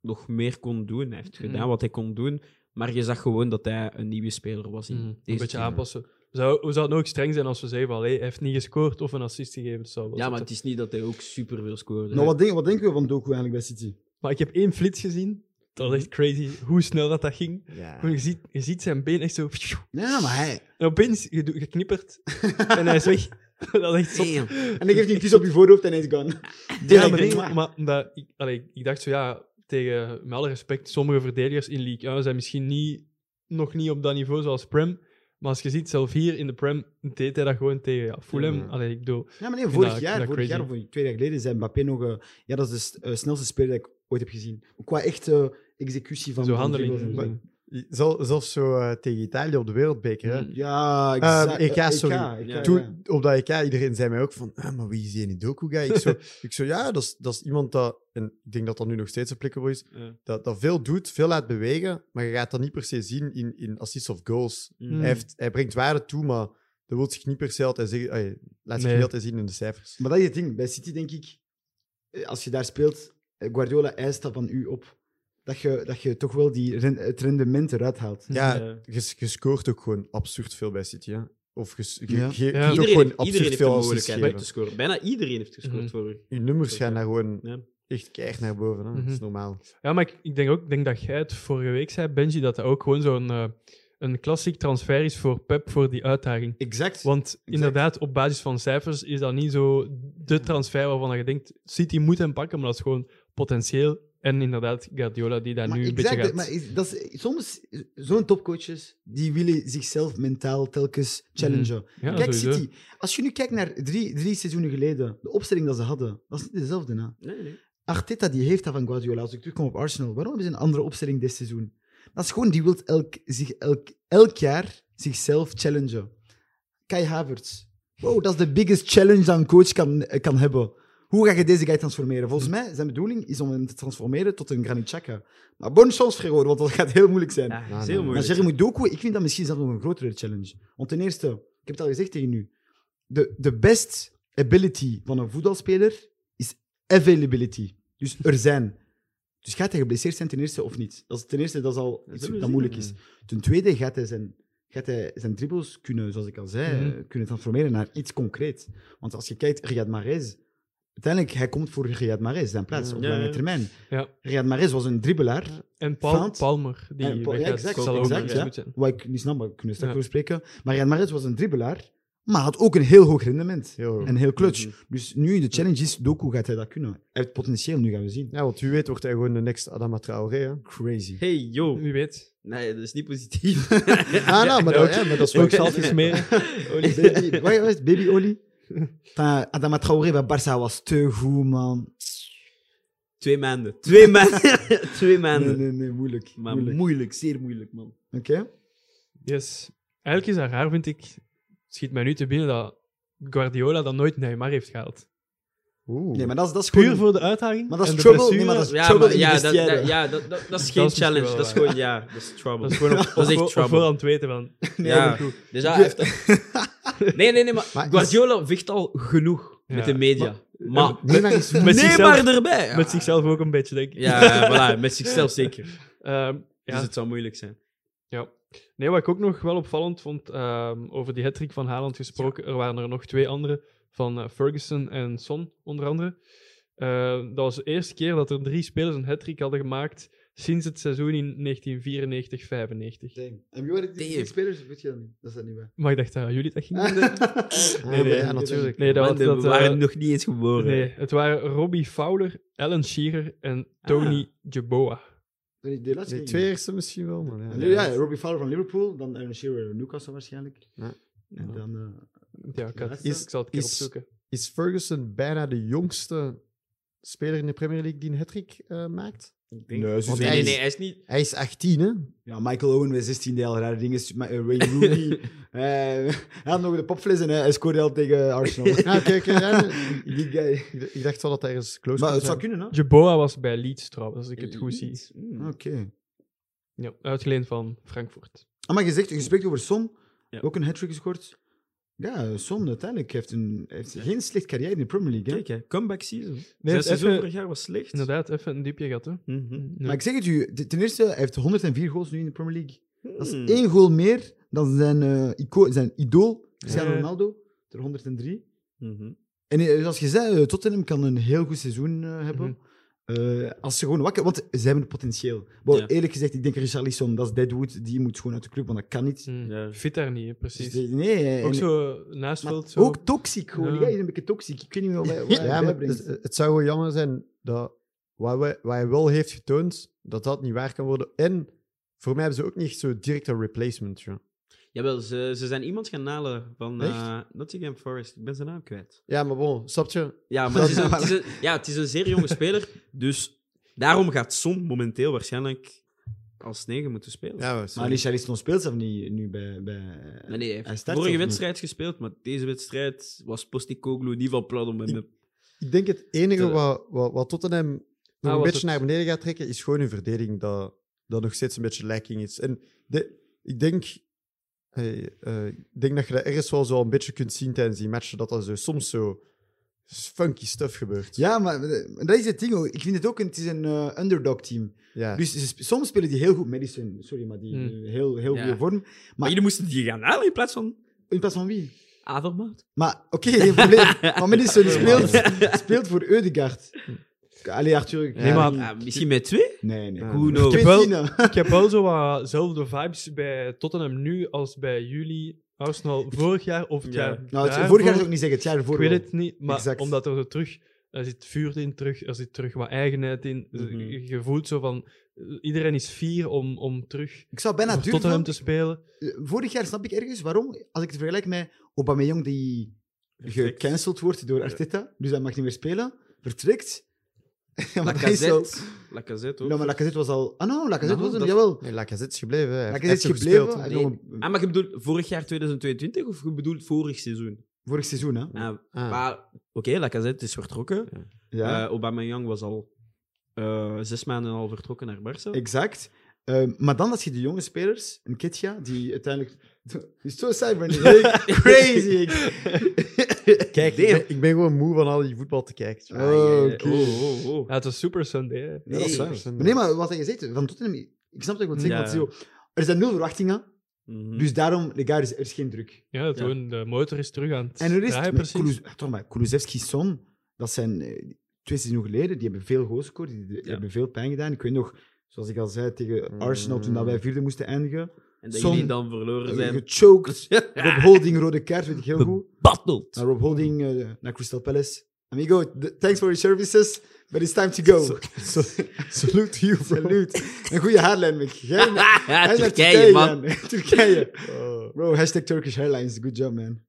D: nog meer kon doen. Hij heeft gedaan
A: Mhm.
D: wat hij kon doen. Maar je zag gewoon dat hij een nieuwe speler was. In
A: Mhm,
D: deze
A: een beetje
D: team.
A: aanpassen. Zou, hoe zou het nou ook streng zijn als we zeggen van, hey, hij heeft niet gescoord of een assist gegeven? Het zou wel
D: Ja,
A: zo
D: maar
A: zijn.
D: het is niet dat hij ook super veel scoorde.
B: Nou, wat, denk, wat denken we van Doku eigenlijk bij City?
A: maar ik heb één flits gezien. Dat was echt crazy hoe snel dat, dat ging.
C: Ja.
A: Je ziet, je ziet zijn been echt zo...
B: Ja, maar hij...
A: En opeens, je, doet- je knippert en hij is weg. dat is echt zot.
D: Damn.
B: En dan geeft hij een kus op je voorhoofd en hij is gone.
A: Ja, maar,
B: Direct.
A: nee, maar, maar dat, ik, allee, ik dacht zo, ja, tegen, met alle respect, sommige verdedigers in League 1 zijn misschien niet, nog niet op dat niveau zoals Prem. Maar als je ziet, zelf hier in de Prem deed hij dat gewoon tegen ja, Fulham.
C: Ja.
A: Allee, ik bedoel,
B: Ja, nou, maar nee,
A: vind
B: vorig
A: dat-
B: jaar,
A: ik vind dat
B: vorig jaar of
A: crazy.
B: twee jaar geleden zei Mbappé nog... eh, ja, dat is de s- eh, snelste speler die ik ooit heb gezien. Qua echte executie van...
A: zo
B: van
A: handeling.
B: dribbels en zo.
C: Zel- zelfs zo eh, tegen Italië op de wereldbeker. hè.
D: Mm.
B: Ja,
C: Ehm,
B: exact.
C: EK,
B: Eh,
C: sorry.
B: EK,
D: Ja,
C: Toen,
B: ja.
C: op dat EK, iedereen zei mij ook van, ah, maar wie is die Doku guy? Ik zo, ik zo ja, dat is, dat is iemand dat, en ik denk dat dat nu nog steeds applicable is,
D: Ja.
C: dat, dat veel doet, veel laat bewegen, maar je gaat dat niet per se zien in, in assists of goals.
A: Mm.
C: Hij, heeft, hij brengt waarde toe, maar dat wil zich niet per se altijd zeggen, ay, laat zich
A: Nee.
C: niet altijd zien in de cijfers.
B: Maar dat is het ding. Bij City denk ik, eh, als je daar speelt, eh, Guardiola eist dat van u op. Dat je, dat je toch wel die ren- het rendement eruit haalt.
C: Ja,
D: Ja.
C: je, je scoort ook gewoon absurd veel bij City. Hè? Of je, je,
B: Ja.
C: je- je
A: Ja.
C: kunt ook
D: Iedereen,
C: gewoon
D: heeft, iedereen
C: absurd
D: heeft de
C: veel assists
D: mogelijkheid om
C: geven.
D: te scoren. Bijna iedereen heeft gescoord
A: Mhm.
D: voor
C: Je nummers gaan daar gewoon
D: Ja.
C: echt keihard naar boven. Hè? Dat
A: Mhm.
C: is normaal.
A: Ja, maar ik, ik denk ook ik denk dat jij het vorige week zei, Benji, dat dat ook gewoon zo'n eh, een klassiek transfer is voor Pep voor die uitdaging.
B: Exact.
A: Want inderdaad, op basis van cijfers is dat niet zo de transfer waarvan je denkt, City moet hem pakken, maar dat is gewoon potentieel. En inderdaad, Guardiola die daar nu een beetje gaat...
B: maar is- dat is, soms, eh, zo'n topcoaches, die willen zichzelf mentaal telkens challengen.
A: Mhm. Ja,
B: Kijk,
A: sowieso.
B: City, als je nu kijkt naar drie, drie seizoenen geleden, de opstelling dat ze hadden, dat is niet dezelfde. Hè?
D: Nee, nee.
B: Arteta die heeft dat van Guardiola. Als ik terugkom op Arsenal, waarom hebben ze een andere opstelling dit seizoen? Dat is gewoon, die wil elk, zich, elk, elk jaar zichzelf challengen. Kai Havertz. Wow, dat is de biggest challenge dat een coach kan, eh, kan hebben. Hoe ga je deze guy transformeren? Volgens mij, zijn bedoeling is om hem te transformeren tot een Granit Xhaka. Maar bonne chance, Gregor, want dat gaat heel moeilijk zijn.
D: Ja, dat
C: nee,
D: is heel
C: nee.
B: Maar
D: moeilijk.
B: Jeremy Doku, ik vind dat misschien zelfs nog een grotere challenge. Want ten eerste, ik heb het al gezegd tegen u, de, de best ability van een voetbalspeler is availability. Dus er zijn. Dus gaat hij geblesseerd zijn ten eerste of niet? Dat is ten eerste dat is al
D: Dat
B: iets
D: zullen we
B: dat
D: zien,
B: moeilijk is. Ten tweede gaat hij zijn, gaat hij zijn dribbles kunnen, zoals ik al zei,
A: Mhm.
B: kunnen transformeren naar iets concreets. Want als je kijkt, Riyad Mahrez, uiteindelijk, hij komt voor Riyad Mahrez, zijn plaats, op
D: Ja,
B: lange
D: ja.
B: termijn.
A: Ja.
B: Riyad Mahrez was een dribbelaar,
A: En Paul
B: Fout.
A: Palmer, die
B: En Paul- ja,
A: weggaat,
B: exact,
A: zal ook
D: exact,
A: iets
B: ja.
A: goed zijn.
B: wat ik niet snap, maar we kunnen straks
A: Ja.
B: over spreken. Maar Jan Mares was een dribbelaar, maar had ook een heel hoog rendement.
C: Heel hoog.
B: En heel clutch. Dus nu de challenge is, Doku gaat hij dat kunnen. Hij heeft potentieel, nu gaan we zien.
C: Ja, want wie weet wordt hij gewoon de next Adama Traoré. Hè?
B: Crazy.
D: Hey, yo.
A: Wie weet.
D: Nee, dat is niet positief.
C: Ah, nou, maar, dat,
A: ook-
C: ja, maar dat is wel
A: Ook zelf gesmeren.
B: Oli, baby, wat was het? baby Oli? Enfin, Adama Traoré bij Barça was te goed, man.
D: Twee maanden. Twee maanden. Twee
B: Nee,
D: maanden.
B: nee, nee, moeilijk.
D: Maar
B: moeilijk.
D: moeilijk. zeer moeilijk, man.
B: Oké?
A: Yes. Eigenlijk is dat raar, vind ik. Schiet mij nu te binnen dat Guardiola dat nooit Neymar heeft gehaald.
C: Oeh.
B: Nee, maar dat is, dat is
A: Puur
B: gewoon-
A: voor de uitdaging.
B: Maar dat is
A: en de
B: trouble.
A: blessure.
B: Nee, maar dat is
D: Ja,
B: trouble
D: maar,
B: in
D: ja, dat,
B: vestiaire.
D: dat- ja dat, dat, dat is geen
A: misschien
D: challenge.
A: wel
D: Dat is
A: waar.
D: gewoon, ja, dat is trouble.
A: Dat is gewoon op,
D: Dat is echt
A: op- op
D: trouble.
A: voorhand weten van.
D: ja. Dus ja, hij heeft- nee, nee, nee, maar,
C: Maar is-
D: Guardiola vecht al genoeg
A: Ja.
D: met de media. Maar,
C: Neymar is-
A: Met
D: nee,
A: zichzelf-
D: maar erbij. Ja.
A: Met zichzelf ook een beetje, denk ik.
D: Ja, voilà, met zichzelf zeker.
A: Ehm, ja.
D: Dus het zou moeilijk zijn.
A: Nee, wat ik ook nog wel opvallend vond, ehm, over die hat van Haaland gesproken, er waren er nog twee andere, van eh, Ferguson en Son, onder andere. Eh, dat was de eerste keer dat er drie spelers een hat hadden gemaakt sinds het seizoen in 1994-95.
B: Damn. En wie waren die
D: Damn.
B: die spelers? Weet je dat niet. Dat is dat niet waar.
A: Maar ik dacht dat jullie dat gingen doen.
C: Ah,
B: nee,
C: maar ja, natuurlijk.
A: Nee, dat,
D: Man,
A: dat,
D: we
A: eh,
D: waren nog niet eens geboren.
A: nee, het waren Robbie Fowler, Alan Shearer en Tony Jeboa.
B: De, de laatste
C: De
B: keer.
C: twee eerste misschien wel, maar ja.
B: Ja, ja, Robbie Fowler van Liverpool, dan Aaron Shearer Newcastle waarschijnlijk.
C: Ja.
B: En dan... eh,
A: Ja, ik, had-
B: Is-
A: ik zal het een keer
C: is-
A: opzoeken.
C: Is Ferguson bijna de jongste speler in de Premier League die een hat maakt?
B: Nee,
C: Want
B: ze
D: nee,
C: hij
D: nee,
C: is-
D: nee, Dus hij is niet.
C: Hij is 18, hè?
B: Ja, Michael Owen was 16 die al rare dingen. is- maar, eh, Ray Rooney. eh, hij had nog de popfles en hij hij scoorde al tegen Arsenal.
C: Ah, kijk, ja, nee.
B: Die guy.
C: ik, d- ik dacht wel dat hij ergens close
B: Maar
C: kon
B: het zou
C: zijn.
B: kunnen, hè?
A: Jeboa was bij Leeds trouwens, als ik het goed zie.
D: Mm.
B: Oké.
A: Ja, uitgeleend van Frankfurt.
B: Ah, maar je zegt, je spreekt over Son.
D: Ja.
B: Ook een hat-trick gescoord. Ja, Son uiteindelijk heeft, een, heeft geen slecht carrière in de Premier League. Hè?
D: Kijk, hè, comeback season.
A: Nee,
D: Zijn
A: het
D: seizoen
A: even-
D: vorig jaar was slecht.
A: Inderdaad, even een diepje gehad. Hè. Hm.
D: Mhm.
A: Ja.
B: Hm, Maar ik zeg het u, t- ten eerste, hij heeft 104 goals nu in de Premier League. Dat is
D: Hmm.
B: één goal meer dan zijn, eh, ico- zijn idool, Cristiano
A: Ja.
B: Ronaldo, ter 103.
D: Mhm.
B: En eh, zoals je zei, eh, Tottenham kan een heel goed seizoen eh, hebben.
A: Mhm.
B: Eh, als ze gewoon wakker... Want ze hebben het potentieel. Maar
D: Ja.
B: eerlijk gezegd, ik denk Richarlison, dat is Deadwood. Die moet gewoon uit de club, want dat kan niet.
A: Mm.
D: Ja.
A: Fit daar niet, hè,
B: Dus
A: precies.
B: die- nee, eh,
A: ook
B: en-
A: zo
B: maar
A: naastveld. Zo.
B: ook toxic gewoon.
A: Ja.
B: Jij is een beetje toxic. Ik weet niet meer wat hij wat hij
C: Ja, maar
B: bijbrengt.
C: het, het zou wel jammer zijn dat wat, wij- wat hij wel heeft getoond, dat dat niet waar kan worden. En voor mij hebben ze ook niet zo direct een replacement. Ja,
D: Jawel, ze, ze zijn iemand gaan halen van
C: Echt?
D: eh, Nottingham Forest. Ik ben zijn naam kwijt.
C: ja maar bon, snap je?
D: Ja, maar het is, een, het is een- ja, het is een zeer jonge speler. Dus daarom gaat Son momenteel waarschijnlijk als negen moeten spelen.
C: Ja, maar
B: Maar
C: sorry.
B: Richarlison speelt zelf niet nu bij... bij
D: Nee, nee, hij
B: Hij
D: heeft
B: start
D: vorige
B: zelf
D: wedstrijd gespeeld, maar deze wedstrijd was Postecoglou niet van plan om hem...
C: Ik- Ik denk het enige
D: Te-
C: wat, wat, wat Tottenham nog
A: Ah,
C: een
A: wat
C: beetje
A: het-
C: naar beneden gaat trekken, is gewoon hun verdediging dat, dat nog steeds een beetje lacking is. En de, ik, denk, eh, eh, ik denk dat je dat ergens wel zo een beetje kunt zien tijdens die matchen, dat er zo, soms zo funky stuff gebeurt.
B: Ja, maar eh, dat is het ding. hoor. Ik vind het ook, een- het is een eh, underdog-team.
C: Ja.
B: Dus ze sp- soms spelen die heel goed. Madison, sorry, maar die
A: Hmm.
B: eh, heel, heel
D: Ja.
B: goede vorm.
D: Maar jullie moesten die gaan halen in plaats van
B: In plaats van wie?
D: Avermaat.
B: Maar oké, geen probleem. Maar Madison speelt, speelt voor Eudegaard. Allee, Arthur. ik-
C: Nee, maar-
D: Ah, misschien met twee?
B: Nee, nee.
C: Ja.
D: Who
B: Ik nou.
D: knows?
B: heb
A: wel-
B: Tina.
A: Ik heb wel zo watzelfde vibes bij Tottenham nu als bij jullie Arsenal vorig jaar of het
D: Ja.
A: jaar
B: Nou, het, vorig
A: daarvoor.
B: jaar zou ik niet zeggen. Het jaar ervoor
A: Ik weet
B: wel.
A: het niet, maar
B: Exact.
A: omdat er zo terug... Er zit vuur in terug, er zit terug wat eigenheid in. Dus
D: Mhm.
A: Je- Je voelt zo van... eh, Iedereen is fier om, om terug
B: Ik zou bijna
A: voor
B: durven...
A: Tottenham te spelen.
B: Eh, Vorig jaar snap ik ergens waarom. Als ik het vergelijk met Aubameyang, die
D: Vertrekt.
B: gecanceld wordt door Arteta. Dus hij mag niet meer spelen. Vertrekt. Maar dat is zo-
D: Lacazette. Lacazette ook.
B: Nou, maar Lacazette was al... Ah, nou, Lacazette
D: Nou,
B: was er.
D: dat-
B: Jawel.
C: Nee, Lacazette is gebleven. hè. Hij heeft
B: Lacazette is
C: echt
B: gebleven.
C: gespeeld,
B: hij
C: hè.
B: heeft nog een-
D: Ah, maar je bedoelt vorig jaar 2022 of je bedoelt vorig seizoen?
B: Vorig seizoen, hè?
D: Ah,
C: Ah.
D: Maar oké, Lacazette is vertrokken.
B: Ja.
D: Eh, Aubameyang was al eh, zes maanden al vertrokken naar Barça.
B: Exact. Ehm, maar dan had je de jonge spelers, een Kitja, die uiteindelijk. is zo saai, Brandon. Crazy.
C: Kijk, ik ben, ik ben gewoon moe van al die voetbal te kijken.
B: Ah, ja, ja.
D: Eh, Oh, oh, oh.
A: Ja, het was Super Sunday. hè.
B: Nee,
C: is waar.
B: Maar nee, maar wat hij zegt, van Tottenham, ik snap dat ik wat zeggen,
D: Ja.
B: want zo, er zijn nul verwachtingen,
D: Mhm.
B: dus daarom, de guy, is, er is geen druk.
A: Ja, het
D: Ja.
A: gewoon, de motor is terug aan het
B: En er is
A: draaien,
B: het, met
A: precies.
B: Kuluz- toch maar, Kulusevski Son, dat zijn eh, twee seizoenen geleden, die hebben veel goals gescoord, die, die
D: Ja.
B: hebben veel pijn gedaan. Ik weet nog, zoals ik al zei, tegen Arsenal, toen dat wij vierde moesten eindigen,
D: en dat
B: Son-
D: jullie dan verloren zijn.
B: gechoked, Rob Holding, rode kaart, weet ik heel goed.
D: Batteld.
B: naar Rob Holding, eh, naar Crystal Palace. Amigo, th- thanks for your services, but it's time to go.
C: Salute you,
B: Salut. Een goede haarlijn, Mick. Jij- hij is naar
D: Turkije, man.
B: gegaan. Turkije.
C: Oh,
B: Bro, hashtag Turkish Airlines. Good job, man.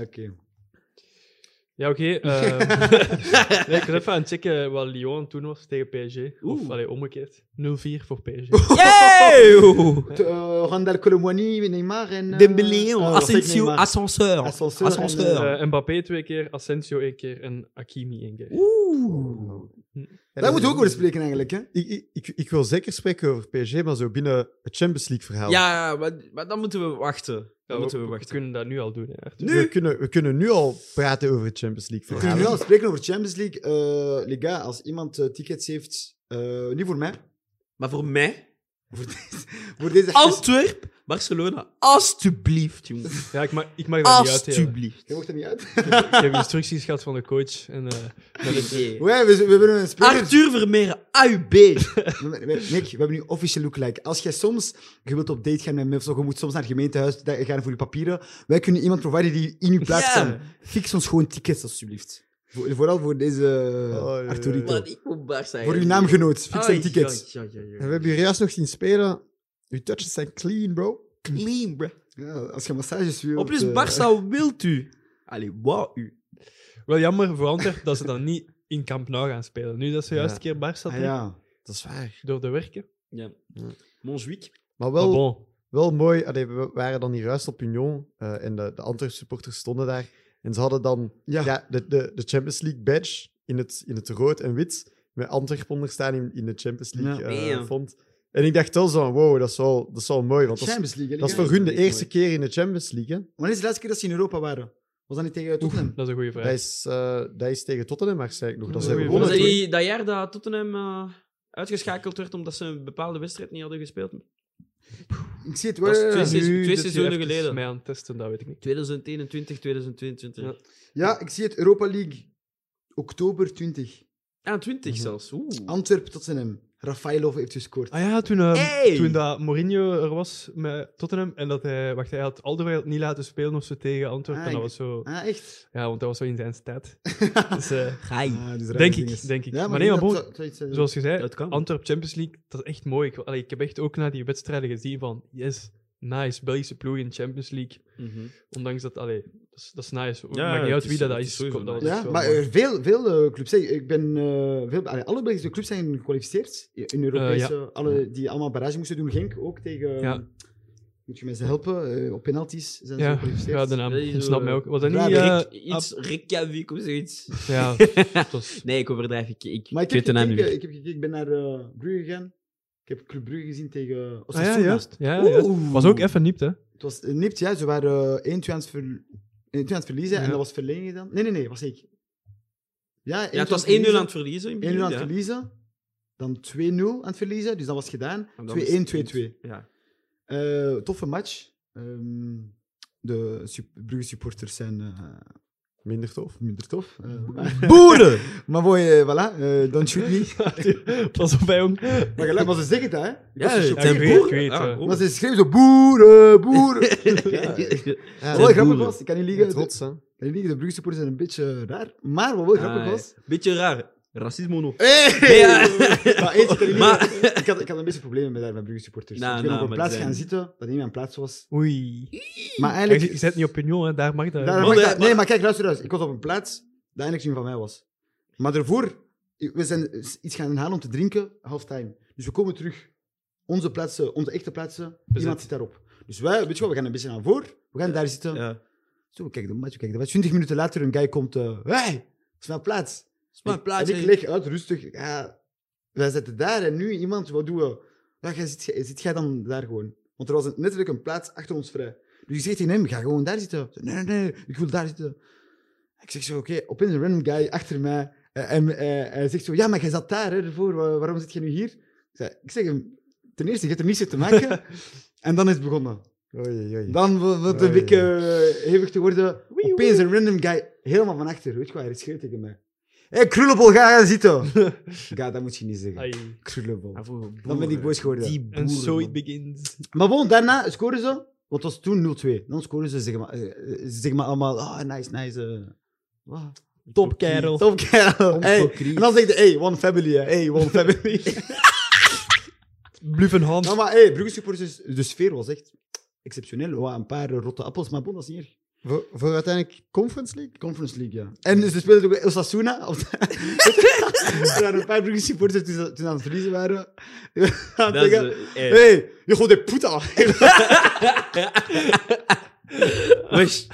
B: Oké.
A: Ja, oké. eh, nee, ik was even aan het checken wat Lyon aan het doen was tegen PSG. Of
D: Oeh.
A: allee, omgekeerd. 0-4 voor PSG.
D: Yo!
B: T- eh, Randal Colomwani, Neymar en... eh,
D: Dembélé,
B: oh, wat zeg ik,
D: Asensio,
B: Neymar?
D: Ascenseur.
B: Ascenseur en,
D: Ascenseur.
B: eh,
A: Eh, Mbappé twee keer, Asensio één keer en Hakimi één keer.
D: Oeh.
B: Daar moeten we ook over spreken, eigenlijk.
D: Oh,
B: Hè?
C: Ik, ik, ik, ik wil zeker spreken over PSG, maar zo binnen het Champions League verhaal.
D: Ja, maar, maar dan moeten we wachten. Dan moeten we wachten.
A: kunnen dat nu al doen. Hè, Arthur.
C: We, kunnen, we kunnen nu al praten over het Champions League
B: We kunnen
C: verhaal.
B: nu al spreken over Champions League. Eh Liga, als iemand eh, tickets heeft... eh, niet voor mij.
D: Maar voor mij,
B: Voor deze... Voor deze
D: Antwerp, Barcelona, alstublieft, jongens.
A: Ja, ik mag, ik mag dat niet uitdelen.
D: Alstublieft.
B: Je mocht er niet uit.
A: Ik heb instructies gehad van de coach. En, eh, dat is-
D: Oké.
B: Ja, we, we hebben
D: E.
B: een speler...
D: Arthur Vermeer, AUB.
B: We- we- Nick, we hebben nu officieel lookalike. Als jij soms, je wilt op date gaan met mensen, of je moet soms naar het gemeentehuis da- gaan voor je papieren, wij kunnen iemand providen die in uw plaats
D: Ja.
B: kan. Fix ons gewoon tickets, alsjeblieft. Voor- vooral voor deze
C: ja, ja.
B: Arturito.
D: Man, ik moet Barça.
B: Voor
D: eigenlijk.
B: uw naamgenoot, fix
D: Ai,
B: zijn tickets.
D: Ja, ja,
C: En
D: ja,
C: we
D: ja.
C: hebben jullie juist nog zien spelen. Uw touches zijn clean, bro.
D: Clean, bro.
B: Ja, als je massages wil.
D: Op plus,
B: eh,
D: Barça wilt u. Allee, wauw u.
A: Wel jammer voor Antwerpen dat ze dan niet in Camp Nou gaan spelen. Nu dat ze juist
C: Ja.
A: een keer Barça
B: ah,
A: doen,
B: ja.
C: Dat is waar.
A: door de werken.
D: Ja. Monswiek.
C: Maar
A: Maar
C: wel,
A: bon.
C: wel mooi. Allee, we waren dan hier juist op Union eh, en de, de Antwerp supporters stonden daar. En ze hadden dan
B: Ja.
C: ja. de, de, de Champions League badge in het, in het rood en wit. Met Antwerpen onderstaan in, in de Champions League
B: Ja.
C: eh,
D: Damn.
C: font. En ik dacht wel zo van, wow, dat is wel, dat is wel mooi. Want dat is,
B: Champions League. hè,
C: dat is
B: Liga?
C: voor hun de
B: Mooi.
C: eerste keer in de Champions League. hè.
B: Wanneer is de laatste keer dat ze in Europa waren? Was dat niet tegen Tottenham?
A: Dat is een goede
C: Dat,
A: vraag.
C: is, eh, dat is tegen Tottenham, maar zei ik nog. Dat ze
A: Oei,
C: hebben
A: oei.
D: Was
C: gewonnen.
D: dat, die, dat jaar dat Tottenham eh, uitgeschakeld werd omdat ze een bepaalde wedstrijd niet hadden gespeeld?
B: Ik zie het
D: Dat is
B: wel.
D: twee
B: ja.
D: seizoenen-
A: Nu dus
D: twee
A: zit je
D: seizoenen
A: even
D: geleden.
A: mij aan het testen, dat weet ik niet.
D: 2021, 2022.
A: Ja.
B: Ja, ik zie het. Europa League. Oktober 20.
D: Ah, 20 zelfs. Oeh.
B: Antwerp Tottenham. Rafaelov heeft gescoord.
A: Ah ja, toen, ehm,
D: Hey!
A: toen dat Mourinho er was met Tottenham en dat hij, wacht, hij had Alderweireld niet laten spelen of zo tegen Antwerpen.
B: Ah,
A: en dat
B: ik-
A: was zo,
B: Ah, echt?
A: ja, want dat was zo in zijn tijd. dus, eh,
D: Gai.
B: Ah, dus rare
A: denk
B: dinges.
A: ik, denk ik.
B: Ja,
A: maar, nee, maar
B: dat eh,
A: broer,
B: zou- zou iets zijn.
A: zoals je zei,
D: Dat kan.
A: Antwerp Champions League, dat is echt mooi. Ik, allee, ik heb echt ook naar die wedstrijden gezien van, yes, nice, Belgische ploeg in Champions League.
D: Mhm.
A: Ondanks dat, allee, dat is, dat is nice.
D: Ja,
A: Maakt
D: ja,
A: niet uit
D: het
A: wie
D: is-
A: dat,
D: het
A: is.
D: is sowieso
A: dat was
D: nice.
A: echt
B: Ja,
A: wel
B: maar
A: mooi.
B: eh, veel, veel eh, clubs. hè. Ik ben, eh, veel, allee, alle Belgische clubs zijn gekwalificeerd in-
A: Eh,
B: in Europese. alle, die allemaal barrage moesten doen. Genk ook tegen. ehm,
A: Ja.
B: Moet je mensen helpen? eh, op penalties zijn ze
A: ja,
B: gekwalificeerd.
A: ja, de naam
D: Dat is,
A: ontsnapt
D: eh,
A: mij ook. Was dat niet...
B: Bravo.
A: eh,
D: iets Reykjavik of zoiets.
A: Ab- ja, het was-
D: Nee, ik overdrijf. Ik, ik,
B: Maar ik
D: weet
B: heb,
D: de naam
B: gekeken,
D: niet
B: ik,
D: meer.
B: heb gekeken, ik ben naar eh, Brugge gegaan. Ik heb Club Brugge gezien tegen eh,
A: Ah,
B: Osasuna.
A: ja, juist. Ja, ja, juist.
D: Oeh.
A: Was ook even nipt, hè?
B: Het was eh, nipt, ja. Ze waren eh 1-2 aan het, ver- 1-2 aan het verliezen en
A: Ja.
B: dat was verlengen dan. Nee, nee, nee, was ik. Ja,
D: Ja, het was 1-0 aan het verliezen. in
B: 1-0
D: het
B: aan
D: begin,
B: het
D: ja.
B: verliezen. Dan 2-0 aan het verliezen, dus dat was het gedaan. 2-1,
D: En dan was het
B: 2-2.
D: Ja.
B: Eh, toffe match. Ehm, de sup- Brugge supporters zijn eh,
C: Minder tof.
B: minder tof. Eh, maar-
D: Boeren!
B: maar mooi, eh, voilà. eh, don't shoot me.
A: Pas op, bij jong.
B: Maar gelijk, maar ze zeggen dat, hè? Ik was
D: Ja,
B: gechoqueerd.
A: ja, ik weet- ik weet, eh.
B: Maar ze schreeuwen zo, boeren, boeren.
C: Ja,
B: Wat wel grappig
D: boeren.
B: was, ik kan niet
C: ja,
B: liegen, de,
C: trots, hè.
B: kan niet liegen, de Brugge supporters zijn een beetje raar. Maar wat wel Oh, grappig
D: Ah,
B: was...
D: Beetje raar. Racisme nog.
B: Hey!
D: Ja.
B: Maar eentje, ik kan niet
D: Maar-
B: liegen, ik, had, ik had een beetje problemen met daar met Brugge supporters.
D: Nou,
B: ik ben
D: nou,
B: op een
D: maar
B: plaats
D: die
B: gaan
D: zijn-
B: zitten, dat niet mijn plaats was.
A: Oei.
B: Maar
A: Kijk,
B: eigenlijk...
A: je zet niet op Union, hè. daar mag dat.
B: daar
A: Maar-
B: mag
D: maar-
B: dat- nee, maar kijk, luister, luister. Ik was op een plaats dat eigenlijk niet van mij was. Maar daarvoor, we zijn iets gaan halen om te drinken, halftime. Dus we komen terug. Onze plaatsen, onze echte plaatsen, iemand zit daarop. Dus wij, weet je wel, we gaan een beetje naar voor, we gaan daar zitten.
D: Ja.
B: Zo, kijk de match, kijk de match. 20 minuten later, een guy komt. eh hey, dat is mijn plaats.
D: is mijn plaats,
B: En ik
D: hè.
B: leg uit, rustig. Ja, wij zitten daar en nu iemand, wat doen we? Ja, jij zit, jij- zit jij dan daar gewoon? Want er was een, letterlijk een plaats achter ons vrij. Dus ik zeg tegen hem, ga gewoon daar zitten. Zo, nee, nee, nee, ik wil daar zitten. Ik zeg zo, oké, opeens een random guy achter mij. eh, En eh, hij zegt zo, ja, maar jij zat daar, hè, ervoor. Wa- Waarom zit je nu hier? Ik, zei, ik zeg hem, ten eerste, je hebt er niets mee te maken. en dan is het begonnen.
C: Oei, oei.
B: Dan be- begint het een
C: Oei.
B: beetje eh, hevig te worden. Opeens een random guy, helemaal van achter. Weet je wat, hij schreeuwt tegen mij. Hé, hey, krullenbol, ga zitten. ja, dat moet je niet zeggen.
A: Ai.
B: Krullenbol.
D: Ja, voor
B: Dan ben ik
D: boeren.
B: boos geworden.
D: Die
A: En
D: boeren.
A: zo it
D: man.
A: begins.
B: Maar bon, daarna scoren ze. Want het was toen 0-2. Dan scoren ze, zeg maar, eh, eh, zeg maar allemaal, ah, nice, nice. eh. Wow.
A: Top kerel.
B: Top kerel. Hey. En dan zeg je, hey, one family, hè. hey, one family.
A: Bluff een hand.
B: nou, maar hey, Brugge supporters, de sfeer was echt exceptioneel. Wat een paar eh, rotte appels, maar bon, dat is niet erg.
C: Voor, voor uiteindelijk Conference League?
B: Conference League, ja. En ze speelden ook bij Osasuna. Op er waren een paar Brugge supporters die ze- toen ze aan het verliezen waren.
D: Dat is,
B: Hé,
D: eh, eh,
B: hey, je gooit de puta.
D: wesh.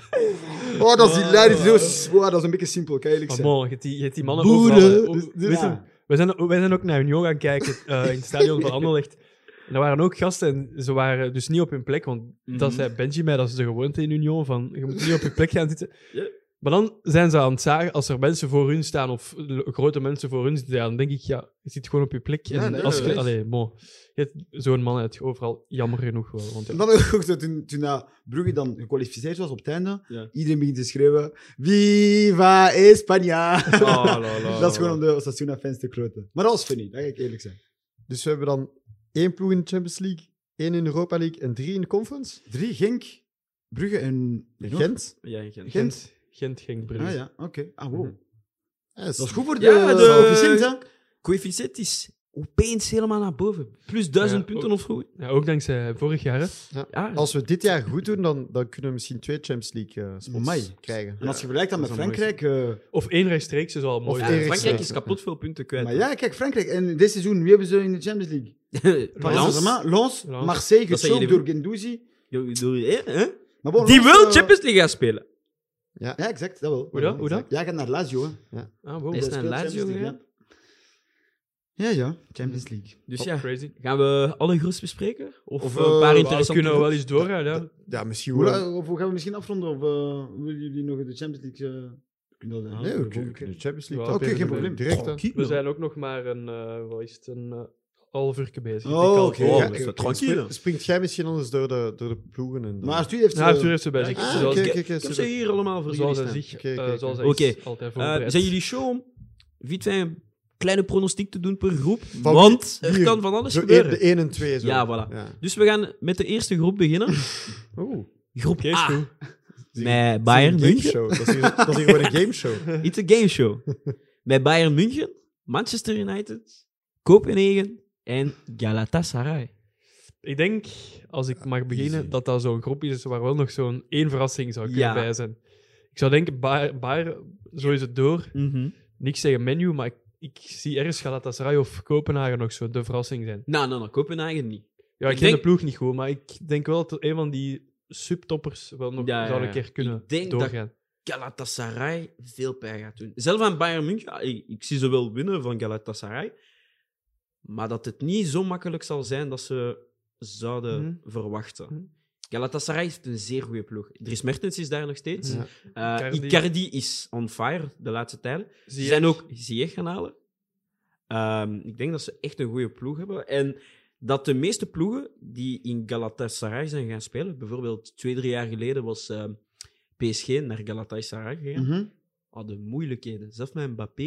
B: Oh, dat is hilarisch. Dat is, wow, dat is een beetje simpel, kan je eerlijk
A: Maar
B: zijn.
A: man, je hebt die, je hebt die mannen
B: Boeren.
A: overal, hè. Ook-
B: Dus- dus-
A: weet je,
B: ja.
A: wij, zijn, wij zijn ook naar Union gaan kijken eh, in het stadion van Anderlecht. En er waren ook gasten en ze waren dus niet op hun plek. Want dat zei Benji mij, dat is de gewoonte in Union, van je moet niet op je plek gaan zitten.
D: Ja.
A: Maar dan zijn ze aan het zagen, als er mensen voor hun staan of l- grote mensen voor hun zitten, ja, dan denk ik, ja, je zit gewoon op je plek.
B: Ja,
A: en
B: nee,
A: als
B: dat
A: je,
B: is.
A: allee, bon, je hebt zo'n man uit overal, jammer genoeg wel. Want ja,
B: En dan ook zo, toen, toen dat Brugge dan gekwalificeerd was op het einde,
D: Ja.
B: iedereen begint te schreeuwen, Viva España!
D: Oh, la, la,
B: dat is
D: la.
B: gewoon om de Osasuna-fans te kloten. Maar dat was funny, dat ga ik eerlijk zijn.
C: Dus we hebben dan één ploeg in de Champions League, één in de Europa League en drie in de Conference.
B: Drie, Genk, Brugge en...
C: Gent.
D: Ja, ik ken-
A: Gent, Gent ging brengen.
B: Ah ja, oké. Ah, wow.
C: Ja, is-
B: Dat is goed voor de,
D: Ja,
B: ja,
D: de-
B: hè?
D: Coëfficiënt is opeens helemaal naar boven. Plus duizend
A: Ja,
D: punten
A: ook-
D: of zo.
A: Ja, ook dankzij vorig jaar, hè.
D: Ja,
C: Als we dit jaar goed doen, dan, dan kunnen we misschien twee Champions League eh spots
B: Amai.
C: krijgen.
B: En als je vergelijkt dat
D: dat
B: met
D: is wel mooi.
B: Frankrijk... eh,
A: Of één rechtstreeks is al mooi.
C: Of
A: Ja.
C: één
D: ja,
C: Eriksen.
D: Frankrijk is kapot veel punten kwijt.
B: maar ja, kijk, Frankrijk. En dit seizoen, wie hebben ze in de Champions League?
A: Lens.
B: Paris Saint-Germain, Lens,
A: Lens.
B: Marseille,
D: Dat zijn
B: gechopt
D: jullie-
B: door Gendouzi.
D: Die
B: Maar bon, Lens,
D: wil
B: eh,
D: Champions League gaan spelen.
B: Ja, exact, dat wel.
A: Hoe dat? Hoe dat?
B: Ja, gaat naar Lazio, hè.
A: Ah, wow.
D: Is
B: Speelt
D: naar Lazio
B: Champions League,
D: gegaan?
B: ja. Ja, ja. Champions League.
D: Dus
A: Oh,
D: ja,
A: crazy.
D: gaan we alle groeps bespreken? Of,
C: Of,
D: eh, een
C: eh,
D: paar
C: we
A: Maar we
D: interessante
A: kunnen
D: groepen?
A: wel iets doorgaan, ja.
C: Ja, misschien
B: Hoe,
C: wel.
B: la- of hoe gaan we misschien afronden? Of eh, willen jullie nog de Champions League... eh, kunnen we dat
C: Ah, Nee, we
B: houden voor de
C: kunnen
B: volgende
C: de
B: keer?
C: Champions League.
A: Ja,
B: Oké,
C: taperen
B: geen
C: we
B: probleem. Oh,
C: Direct, hè.
A: We zijn ook nog maar een, eh wat is het, een eh, half uurtje bezig. Ik
B: Oh,
A: denk al-
B: oké.
A: Oh,
B: Ja,
A: dat is
C: oké,
A: wat-
C: oké.
D: tranquille.
C: Spring- Springt jij misschien anders door de, door de ploegen? En dan-
B: Maar Arthur heeft...
A: Ja, Arthur
B: eh,
A: heeft ze bij zich.
D: Ja,
C: Ah,
A: zoals,
C: oké,
D: ik
C: oké, oké,
D: heb ze
C: super.
D: hier allemaal voor
A: zoals hij
D: jullie
A: zich,
C: Oké,
A: eh,
C: oké,
A: zoals hij
D: oké.
A: is altijd
D: staan. Eh,
A: voorbereidt.
D: zijn jullie show om vite een kleine pronostiek te doen per groep?
C: Van
D: want
C: wie-
D: er
C: hier.
D: kan van alles
C: Zo één-
D: gebeuren.
C: de 1 en 2. Zo.
D: Ja, voilà.
C: Ja.
D: Dus we gaan met de eerste groep beginnen.
C: Oeh.
D: Groep
A: Oké, is
D: A.
A: goed.
D: Met Bayern
C: Game
D: München.
C: show. Dat is hier, dat is hier gewoon een game show.
D: It's a game show. Met Bayern München, Manchester United, Kopenhagen en Galatasaray.
A: Ik denk, als ik
D: Ah,
A: mag beginnen,
C: easy.
A: dat dat zo'n groep is waar wel nog zo'n één verrassing zou kunnen
D: Ja.
A: bij zijn. Ik zou denken, Bayer, Bayer, zo is het door. Niks tegen menu, maar ik, ik zie ergens Galatasaray of Kopenhagen nog zo de verrassing zijn.
D: Nou, nou, nou, Kopenhagen niet.
A: Ja, ik,
D: Ik
A: ken
D: denk-
A: de ploeg niet goed, maar ik denk wel dat een van die subtoppers wel nog
D: Ja, ja,
A: zou een
D: ja.
A: keer kunnen
D: Ik denk dat-
A: doorgaan.
D: Galatasaray veel pijn gaat doen. Zelf aan Bayern München, ah, ik, ik zie ze wel winnen van Galatasaray. Maar dat het niet zo makkelijk zal zijn dat ze zouden
A: Mhm.
D: verwachten.
A: Mhm.
D: Galatasaray heeft een zeer goede ploeg. Dries Mertens is daar nog steeds.
C: Ja.
D: Eh,
A: Icardi.
D: Icardi is on fire de laatste tijden. Ze
A: Zie
D: zijn ook Ziyech gaan halen. Ehm, ik denk dat ze echt een goede ploeg hebben. En dat de meeste ploegen die in Galatasaray zijn gaan spelen, bijvoorbeeld twee, drie jaar geleden was ehm, PSG naar Galatasaray gegaan,
B: mhm.
D: hadden moeilijkheden. Zelfs met Mbappé.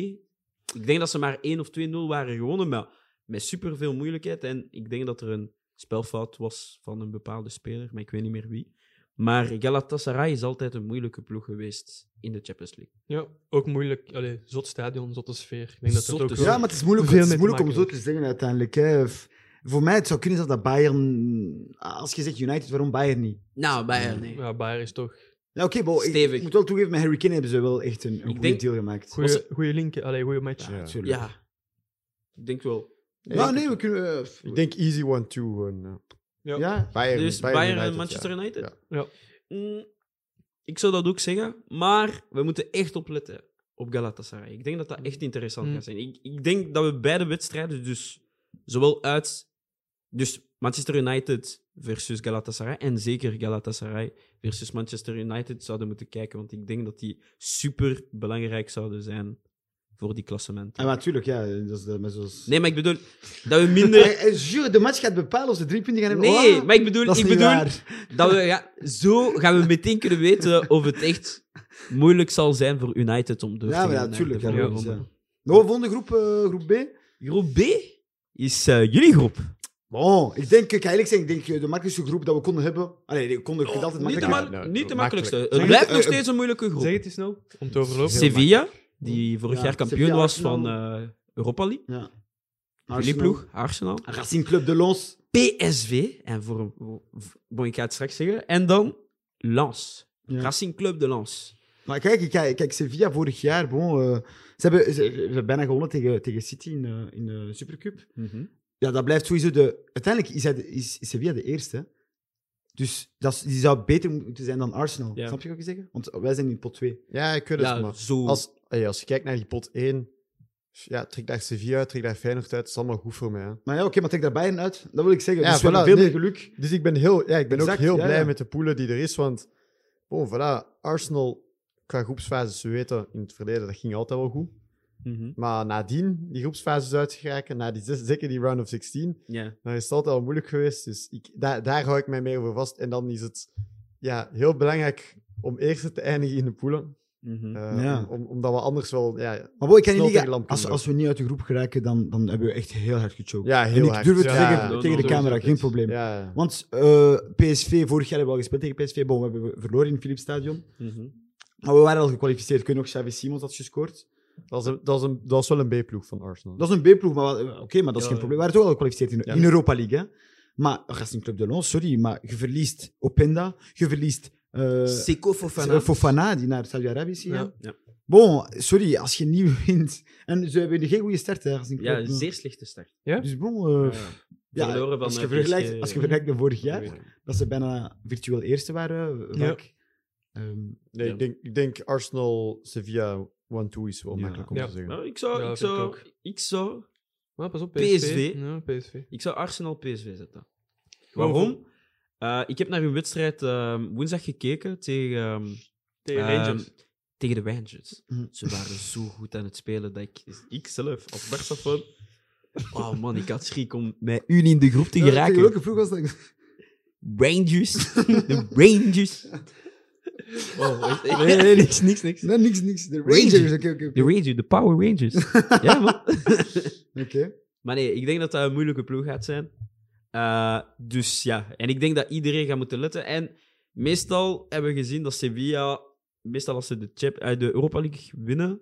D: Ik denk dat ze maar 1 of 2-0 waren gewonnen, maar met superveel moeilijkheid. En ik denk dat er een spelfout was van een bepaalde speler, maar ik weet niet meer wie. Maar Galatasaray is altijd een moeilijke ploeg geweest in de Champions League.
A: Ja, ook moeilijk. Allee, zot stadion, zotte sfeer. Ik denk dat dat
D: Zotte
A: ook wel-
D: sfeer.
B: Ja, maar het is moeilijk,
A: Veel
B: het is
A: mee te
B: moeilijk om
A: maken
B: zo te zeggen uiteindelijk. Hè. F- Voor mij het zou kunnen zijn dat Bayern... Als je zegt United, waarom Bayern niet?
D: Nou, Bayern, nee.
A: Ja, Bayer is toch...
B: Ja, oké, bo, ik,
D: Stevig.
B: ik moet wel toegeven, met Harry Kane hebben ze wel echt een, een goede
D: denk-
B: deal gemaakt.
A: Goeie, goeie link, allee, goeie match.
C: Ja.
B: natuurlijk.
D: Ja. Ik denk wel.
B: Ja, nee, we kunnen... eh, f-
C: Ik denk easy 1-2 gewoon. ja.
A: Ja.
B: ja,
C: Bayern,
D: Dus Bayern,
C: United,
D: en Manchester
C: ja.
D: United?
A: Ja. Ja.
D: Mm, ik zou dat ook zeggen, maar we moeten echt opletten op Galatasaray. Ik denk dat dat echt interessant
A: Mm.
D: gaat zijn. Ik, ik denk dat we beide wedstrijden, dus zowel uit... Dus Manchester United versus Galatasaray en zeker Galatasaray versus Manchester United zouden moeten kijken, want ik denk dat die super belangrijk zouden zijn voor die klassementen.
B: Ah, maar natuurlijk, ja. Dat is de, maar zoals...
D: Nee, maar ik bedoel dat we minder...
B: Eh, eh, Jure, de match gaat bepalen of ze drie punten gaan hebben.
D: Nee,
B: Oh,
D: maar ik bedoel,
B: dat is
D: ik
B: niet
D: bedoel,
B: waar.
D: Dat we, ja, zo gaan we meteen kunnen weten of het echt moeilijk zal zijn voor United om door te
B: Ja, maar
D: gaan
B: ja,
D: naar
B: natuurlijk.
D: de
B: Ja,
A: volgende
B: logisch,
D: ronde.
B: ja. Nou, volgende groep, eh, groep B.
D: Groep B is eh, jullie groep.
B: Bon, ik denk, ik ga eerlijk zijn, ik denk eh, de makkelijkste groep dat we konden hebben. Allee, die konden je kunt altijd
D: Oh, niet, de
B: makkelijk
D: ma-
C: maken. Ja, nou,
D: niet de
C: makkelijk.
D: makkelijkste. Het
A: Zeg het,
D: blijft nog
B: eh,
D: steeds een moeilijke
A: Zeg
D: groep.
A: het eens nou. snel, om te overlopen.
C: Zeven.
D: Sevilla, die vorig
B: Ja,
D: jaar kampioen
B: Sevilla,
D: was van
B: Arsenal.
D: eh, Europa League.
B: Ja.
D: Jullie
B: Arsenal.
D: ploeg, Arsenal.
B: Racing Club de Lons.
D: PSV, en voor, voor- bon, ik ga het straks zeggen. En dan Lens.
B: Ja.
D: Racing Club de Lens.
B: Maar kijk, kijk, kijk Sevilla vorig jaar, bon, eh, ze, hebben, ze, ze hebben bijna gewonnen tegen, tegen City in, eh, in de Supercup.
C: Mhm.
B: Ja, dat blijft sowieso de... Uiteindelijk is, hij de, is, is Sevilla de eerste. hè. Dus dat is- die zou beter moeten zijn dan Arsenal.
D: Ja.
B: Snap je wat ik zeg? Want wij zijn in pot 2.
C: Ja, ik weet het,
D: Ja,
C: maar
D: zo.
C: als, hey, als je kijkt naar die pot 1, ja, trek daar Sevilla uit, trek daar Feyenoord uit, dat is allemaal goed voor mij. hè.
B: Maar ja, oké, maar trek daar Bayern uit. Dat wil ik zeggen.
C: Ja,
B: dus we hebben
C: voilà,
B: veel
C: nee.
B: meer geluk.
C: Dus ik ben, heel, ja, ik ben
B: Exact,
C: ook heel
B: ja,
C: blij
B: ja.
C: met de poelen die er is, want bon, voilà, Arsenal qua groepsfases, we weten in het verleden, dat ging altijd wel goed.
D: Mhm.
C: Maar nadien, die groepsfases uitgeraken, na die zes, zeker die round of 16,
D: Ja.
C: dan is het altijd al moeilijk geweest. Dus ik, daar daar hou ik mij meer voor vast. En dan is het ja, heel belangrijk om eerste te eindigen in de poelen.
D: Mhm.
C: Eh,
B: Ja.
C: om- om- omdat we anders wel... Ja,
B: Maar boy, ik kan je
C: Snel
B: niet
C: tegen
B: zeggen,
C: lamp
B: als,
C: kunnen.
B: als we niet uit de groep geraken, dan, dan hebben we echt heel hard gechoked.
C: ja
B: en
C: heel
B: ik
C: hard.
B: durf het te
C: Ja,
B: zeggen
D: no,
B: tegen
D: no,
B: de
D: no,
B: camera,
D: no,
B: geen
D: no.
B: probleem.
C: Ja.
B: Want eh, PSV, vorig jaar hebben we al gespeeld tegen PSV. Bon, we hebben verloren in het Philips Stadion.
D: Mhm.
B: Maar we waren al gekwalificeerd. Kun je nog Xavi Simons had gescoord?
C: Dat is, een, dat, is een, dat is wel een B-ploeg van Arsenal.
B: Dat is een B-ploeg, maar wel- oké, maar dat is geen
D: Ja, ja.
B: probleem. We waren toch al gekwalificeerd in,
C: Ja.
B: in Europa League. Hè? Maar Racing Club de Lons, sorry, maar je verliest Openda, je verliest eh,
D: Seko Fofana.
B: Fofana, die naar Saudi-Arabië is gegaan.
D: Ja.
B: Bon, sorry, als je niet wint. En ze hebben geen goede start, hè, Racing Club.
D: Ja, zeer slechte start.
B: Dus bon, eh, ja,
D: Verloren van,
B: als, je
D: eh,
B: vergelijkt,
D: PSG.
B: als je vergelijkt met vorig jaar,
C: Ja.
B: dat ze bijna virtueel eerste waren, eh,
A: Ja.
B: vaak. Ehm,
C: Nee,
D: Ja.
C: ik, denk, ik denk Arsenal, Sevilla, 1-2 is wel
B: Ja.
C: makkelijk om
A: Ja.
C: te zeggen.
D: Nou, ik zou,
A: Ja,
D: ik,
A: vind ik
D: zou,
A: ook.
D: ik zou
A: Maar pas op, PSV.
D: PSV.
A: Ja, PSV.
D: Ik zou Arsenal PSV zetten.
A: Waarom?
D: Waarom? Eh, ik heb naar hun wedstrijd ehm, woensdag gekeken tegen, ehm,
A: Tegen
D: ehm,
A: Rangers.
D: tegen de Rangers.
B: Mhm.
D: Ze waren zo goed aan het spelen dat ik, ik zelf als Barca-fan... Oh man, ik had schrik om met hun in de groep te
B: Tegen
D: geraken.
B: welke ploeg was dat?
D: Rangers. De Rangers. Oh, nee, nee, niks, niks, niks.
B: Nee, niks, niks. De
D: Rangers.
B: Rangers. Oké, oké, oké.
D: De Rangers, de Power Rangers. ja, man.
B: Oké.
D: Maar nee, ik denk dat dat een moeilijke ploeg gaat zijn. Eh, dus ja, en ik denk dat iedereen gaat moeten letten. En meestal hebben we gezien dat Sevilla, meestal als ze de, Chap- eh, de Europa League winnen,